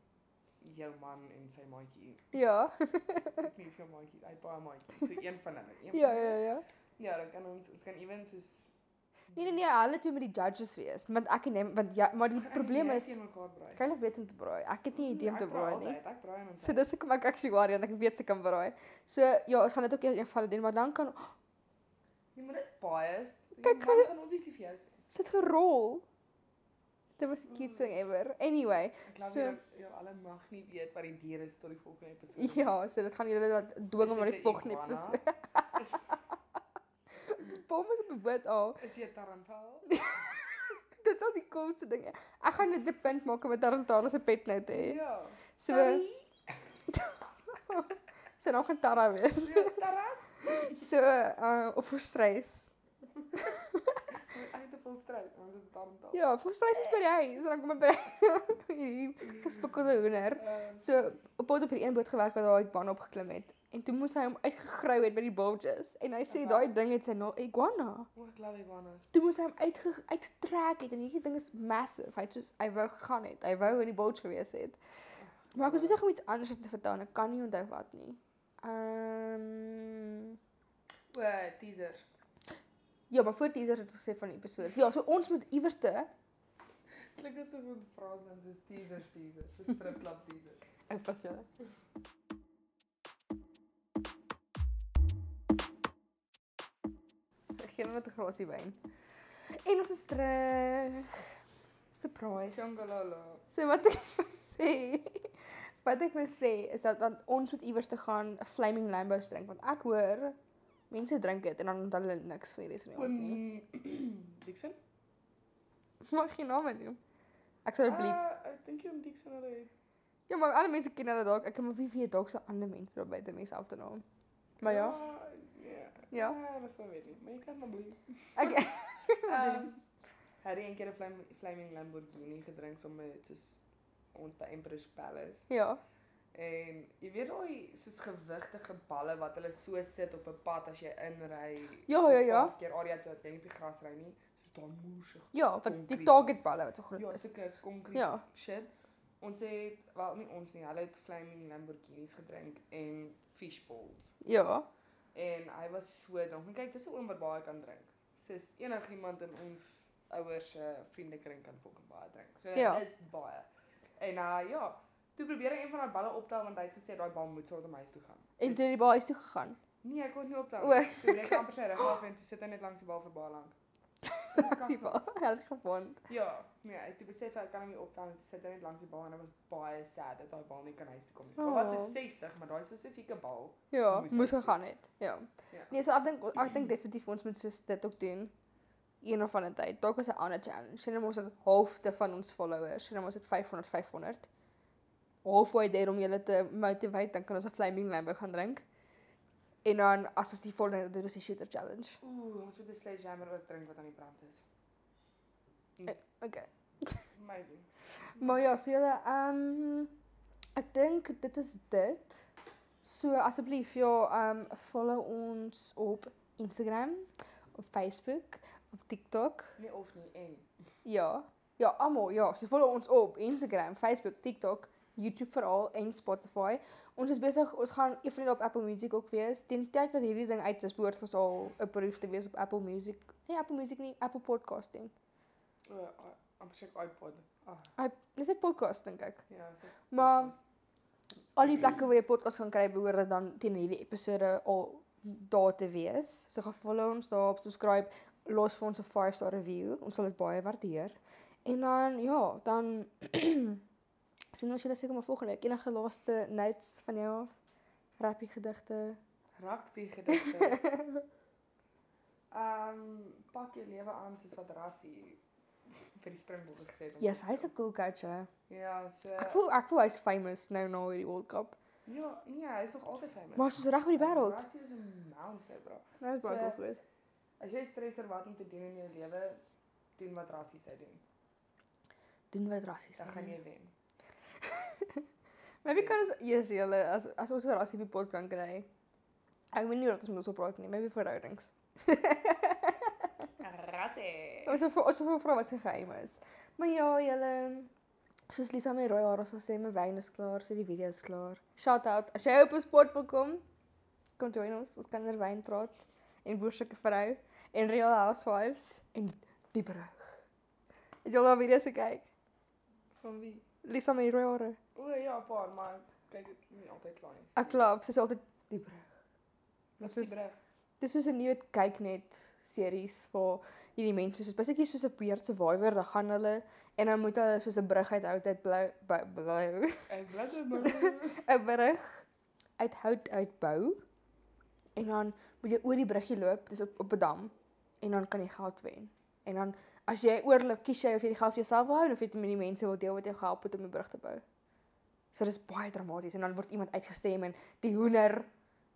[SPEAKER 2] jou man en sy maatjie.
[SPEAKER 1] Ja.
[SPEAKER 2] Ek weet nie of jou maatjie, hy baie maatjie, so een van hulle. Een
[SPEAKER 1] Ja,
[SPEAKER 2] van
[SPEAKER 1] ja,
[SPEAKER 2] hulle.
[SPEAKER 1] ja.
[SPEAKER 2] Ja, dan kan ons ons kan ewen soos
[SPEAKER 1] Nee nee nee, hulle twee met die judges wees, want ek en hom want ja, maar die
[SPEAKER 2] Ek en
[SPEAKER 1] probleem
[SPEAKER 2] jy
[SPEAKER 1] is
[SPEAKER 2] teen mekaar braai. Nee,
[SPEAKER 1] kan hulle weet om te braai. Ek het nie idee om
[SPEAKER 2] Ja, Ek
[SPEAKER 1] te braai nie.
[SPEAKER 2] altyd, Ek braai en ons
[SPEAKER 1] So dis hoekom ek actually worry want ek weet se kan braai. So ja, ons gaan dit ook eers een van hulle doen, maar dan kan
[SPEAKER 2] Jy moet dit biased.
[SPEAKER 1] Kyk,
[SPEAKER 2] Kyk,
[SPEAKER 1] gaan-
[SPEAKER 2] hulle gaan obviously vir jou. sê.
[SPEAKER 1] sit gerol. Dit was die cutest thing ever. Anyway,
[SPEAKER 2] Ek glo
[SPEAKER 1] So-
[SPEAKER 2] so, jy hulle mag nie weet wat die dier is tot die volgende episode.
[SPEAKER 1] ja, so dit gaan julle dat dwing om
[SPEAKER 2] Is
[SPEAKER 1] aan
[SPEAKER 2] dit
[SPEAKER 1] die
[SPEAKER 2] een
[SPEAKER 1] volgende
[SPEAKER 2] iguana?
[SPEAKER 1] episode.
[SPEAKER 2] Is,
[SPEAKER 1] Kom ons bewoord al.
[SPEAKER 2] is jy 'n tarantel?
[SPEAKER 1] Dit is al die komste dinge. Ek gaan dit 'n punt maak om met Tarantala se pet nou te hê.
[SPEAKER 2] Ja.
[SPEAKER 1] So
[SPEAKER 2] Sorry,
[SPEAKER 1] sy naam gaan Tara wees.
[SPEAKER 2] is jy 'n Taras?
[SPEAKER 1] So uh of Frustreis.
[SPEAKER 2] Ek het 'n volstryd, ons het 'n tarantel.
[SPEAKER 1] Ja, Frustreis is by die huis en dan kom hy by hierdie gespikkelde hoender.
[SPEAKER 2] Ehm,
[SPEAKER 1] So op pad op hierdie een boot gewerk wat daai iguana opgeklim het en toe moes hy hom uitgegrou het by die bulges en hy sê
[SPEAKER 2] Wat?
[SPEAKER 1] daai ding het sy naam iguana.
[SPEAKER 2] O, ek glo iguanas.
[SPEAKER 1] Toe moes hy hom uitge uitgetrek het en hierdie ding is massive. Hy het soos hy wou gegaan het. Hy wou in die bulge gewees het. Maar ek was besig om iets anders te vertel en ek kan nie onthou wat nie. Ehm um,
[SPEAKER 2] O, Eh, teaser.
[SPEAKER 1] ja, maar voor teaser het ons gesê van die episode. Ja, so ons moet iewers te
[SPEAKER 2] Klink asof ons praat dan soos teaser teaser, so stripklap teaser.
[SPEAKER 1] Ek pas julle. Ek gee hom met 'n glasie wyn. En ons is terug. Surprise.
[SPEAKER 2] Shangololo.
[SPEAKER 1] So wat ek wou sê, wat ek wil sê is dat dan ons moet iewers te gaan 'n Flaming Lambo drink want ek hoor mense drink dit en dan onthou hulle niks vir die res van die aand nie.
[SPEAKER 2] Dixon?
[SPEAKER 1] Mag jy name noem? Ek sou dit bleep.
[SPEAKER 2] Ah, Ek dink jy om Dixon hulle.
[SPEAKER 1] Ja, maar alle mense ken hulle dalk. Ek kan maar wie weet dalk se ander mense daar buite mense af te naam. Maar ja.
[SPEAKER 2] Ah, Ja.
[SPEAKER 1] Ja.
[SPEAKER 2] Ah, Dat sou weet nie, maar jy kan maar bly.
[SPEAKER 1] Ek
[SPEAKER 2] Ehm, Harry een keer 'n Flam- Flaming Lamborghini gedrink sommer soos ons by Empress Palace
[SPEAKER 1] ja.
[SPEAKER 2] en jy weet daai soos gewigtige balle wat hulle so sit op 'n pad as jy inry.
[SPEAKER 1] Ja,
[SPEAKER 2] soos
[SPEAKER 1] ja, ja.
[SPEAKER 2] paar Keer area toe, ek weet nie op die gras ry nie, soos daai moersig.
[SPEAKER 1] Ja, want die
[SPEAKER 2] Concrete.
[SPEAKER 1] targetballe wat so groot
[SPEAKER 2] Ja,
[SPEAKER 1] is.
[SPEAKER 2] sulke konkrete
[SPEAKER 1] Ja.
[SPEAKER 2] shit. Ons het wel nie ons nie, hulle het Flaming Lamborghinis gedrink en fishballs.
[SPEAKER 1] Ja.
[SPEAKER 2] En hy was so dronk. En kyk, dis 'n oom wat baie kan drink. Soos enigiemand in ons ouers se vriendekring kan fucking baie drink. So
[SPEAKER 1] Ja.
[SPEAKER 2] ja. dit is baie. En uh ja, toe probeer hy een van daai balle optel want hy het gesê daai bal moet sou tot my huis toe gaan.
[SPEAKER 1] En Oh.
[SPEAKER 2] Dis-
[SPEAKER 1] toe het die baai toe gegaan.
[SPEAKER 2] Nee, ek kon dit nie optel.
[SPEAKER 1] O,
[SPEAKER 2] nie. Toe breek hy amper sy rug af en toe sit hy net langs die bal vir baie lank. Dis
[SPEAKER 1] Die
[SPEAKER 2] kansel.
[SPEAKER 1] bal het gewond.
[SPEAKER 2] Ja, nee, hy toe besef hy kan hom nie optel en toe sit hy net langs die bal en hy was baie sad dat daai bal nie kan huis toe kom nie. Dit was so
[SPEAKER 1] Oh.
[SPEAKER 2] 60, maar daai spesifieke bal.
[SPEAKER 1] Ja,
[SPEAKER 2] Moes
[SPEAKER 1] moes
[SPEAKER 2] uitspeel.
[SPEAKER 1] gegaan het. Ja.
[SPEAKER 2] Ja.
[SPEAKER 1] Nee, so ek dink ek dink definitief ons moet soos dit ook doen. Een of ander tyd. Dalk is 'n ander challenge. Sien ons het halfte van ons followers. Sien ons het 500 500. Halfway daar om julle te motivate, dan kan ons 'n flaming lambo gaan drink. En dan as ons die volgende doen is die shooter challenge.
[SPEAKER 2] Ooh, ons moet 'n sledgehammer ook drink wat aan die brand is.
[SPEAKER 1] Okay.
[SPEAKER 2] Amazing.
[SPEAKER 1] Maar ja, so julle ehm ek dink dit is dit. So asseblief ja, ehm follow ons op Instagram, op Facebook, op TikTok.
[SPEAKER 2] Nee of nie en.
[SPEAKER 1] Ja. Ja, almal, ja, so follow ons op Instagram, Facebook, TikTok, YouTube veral en Spotify. Ons is besig, ons gaan eendag op Apple Music ook wees. Teen die tyd wat hierdie ding uit is, behoort ons al approved te wees op Apple Music. Nee, Apple Music nie, Apple Podcasting.
[SPEAKER 2] O, a- amper seker iPod. Ah,
[SPEAKER 1] Dis net podcast dink ek.
[SPEAKER 2] ja, so.
[SPEAKER 1] Maar al die plekke waar jy podcast gaan kry, behoort dit dan teen hierdie episode al daar te wees. So gaan follow ons daar, op subscribe, los vir ons 'n 5 star review. Ons sal dit baie waardeer. En dan ja, dan sien ons julle seker maar volgende week. Enige laaste notes van jou af? Rappie gedigte.
[SPEAKER 2] Rugby gedigte. Ehm, um, pak jou lewe aan soos wat Rassie vir die Springbokke gesê het. om
[SPEAKER 1] Yes,
[SPEAKER 2] te
[SPEAKER 1] hy's
[SPEAKER 2] speel.
[SPEAKER 1] 'n cool coach. He.
[SPEAKER 2] Ja, so
[SPEAKER 1] Ek voel ek voel hy's famous nou na hierdie World Cup.
[SPEAKER 2] Ja, nee, hy is nog altyd famous.
[SPEAKER 1] Maar soos reg oor die wêreld.
[SPEAKER 2] Rassie is 'n monster, bro.
[SPEAKER 1] Nou is baie
[SPEAKER 2] So-
[SPEAKER 1] cool goed.
[SPEAKER 2] As jy stres oor wat om te doen in jou lewe, doen wat Rassie sê doen.
[SPEAKER 1] Doen wat rassies.
[SPEAKER 2] Dan gaan jy wen.
[SPEAKER 1] Maybe kan ons eers julle as as ons oor rassie pot kan kry. Ek weet nie hoe dat ons moet so praat nie, maybe verhoudings.
[SPEAKER 2] Rassie.
[SPEAKER 1] Ons het ons wil vra wat se geheim is. Maar ja, julle soos Lisa my rooi hare sal sê, my wyn is klaar, so die video is klaar. Shout out. As jy op 'n sport wil kom, kom join ons. Ons kan oor wyn praat en boersukke vrou en real housewives en die brug. Het julle al video's gekyk?
[SPEAKER 2] Van wie?
[SPEAKER 1] Lisa my rooi hare.
[SPEAKER 2] O Oh, ja, paar, maar kyk dit nie altyd klaar nie.
[SPEAKER 1] Ek klap, sy's altyd die brug. Ons
[SPEAKER 2] Ons is
[SPEAKER 1] is
[SPEAKER 2] terug.
[SPEAKER 1] Dis soos 'n nuwe kyk net series waar hierdie mense soos basically soos 'n beer survivor, dan gaan hulle en dan moet hulle soos 'n brug uit hout uit blou bou- blou
[SPEAKER 2] 'n Brother.
[SPEAKER 1] 'n brug uit hout uitbou. En dan moet jy oor die bruggie loop, dis op op 'n dam en dan kan jy geld wen. En dan as jy oorloop, kies jy of jy die geld vir jouself wil hou of jy dit met die mense wil deel wat jou gehelp het om die brug te bou. So dis baie dramaties en dan word iemand uitgestem en die hoender,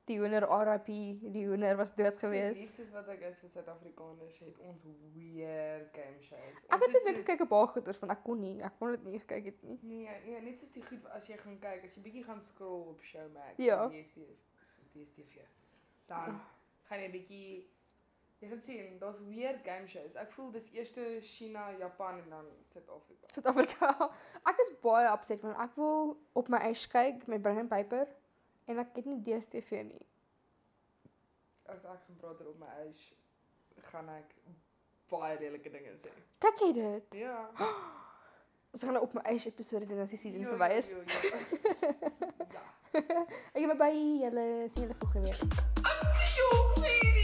[SPEAKER 1] die hoender RIP, die hoender was dood gewees.
[SPEAKER 2] Dit is wat ek is vir Suid-Afrikaners het ons weird game shows.
[SPEAKER 1] Ek
[SPEAKER 2] Ons
[SPEAKER 1] het
[SPEAKER 2] is
[SPEAKER 1] net
[SPEAKER 2] soos-
[SPEAKER 1] gekyk op haar goeders van ek kon nie, ek kon dit nie gekyk het nie.
[SPEAKER 2] Nee, nee, net soos die goed as jy gaan kyk, as jy bietjie gaan scroll op Showmax,
[SPEAKER 1] Ja. Ah.
[SPEAKER 2] en DStv, soos DStv. Dan gaan jy bietjie jy gaan sien, daar's weird game shows. Ek voel dis eers China, Japan en dan Suid-Afrika.
[SPEAKER 1] Suid-Afrika. Ek is baie upset want ek wil op my Ash kyk met Brendan Piper en ek het nie DStv nie.
[SPEAKER 2] As ek gepraat het op my eis gaan ek baie lelike dinge sê.
[SPEAKER 1] Kyk jy dit?
[SPEAKER 2] Ja.
[SPEAKER 1] Ons gaan nou op my Ash episode doen as die season verby is.
[SPEAKER 2] Jo, jo, jo. ja.
[SPEAKER 1] Ek bye bye julle sien julle volgende week.
[SPEAKER 3] Jong, nee.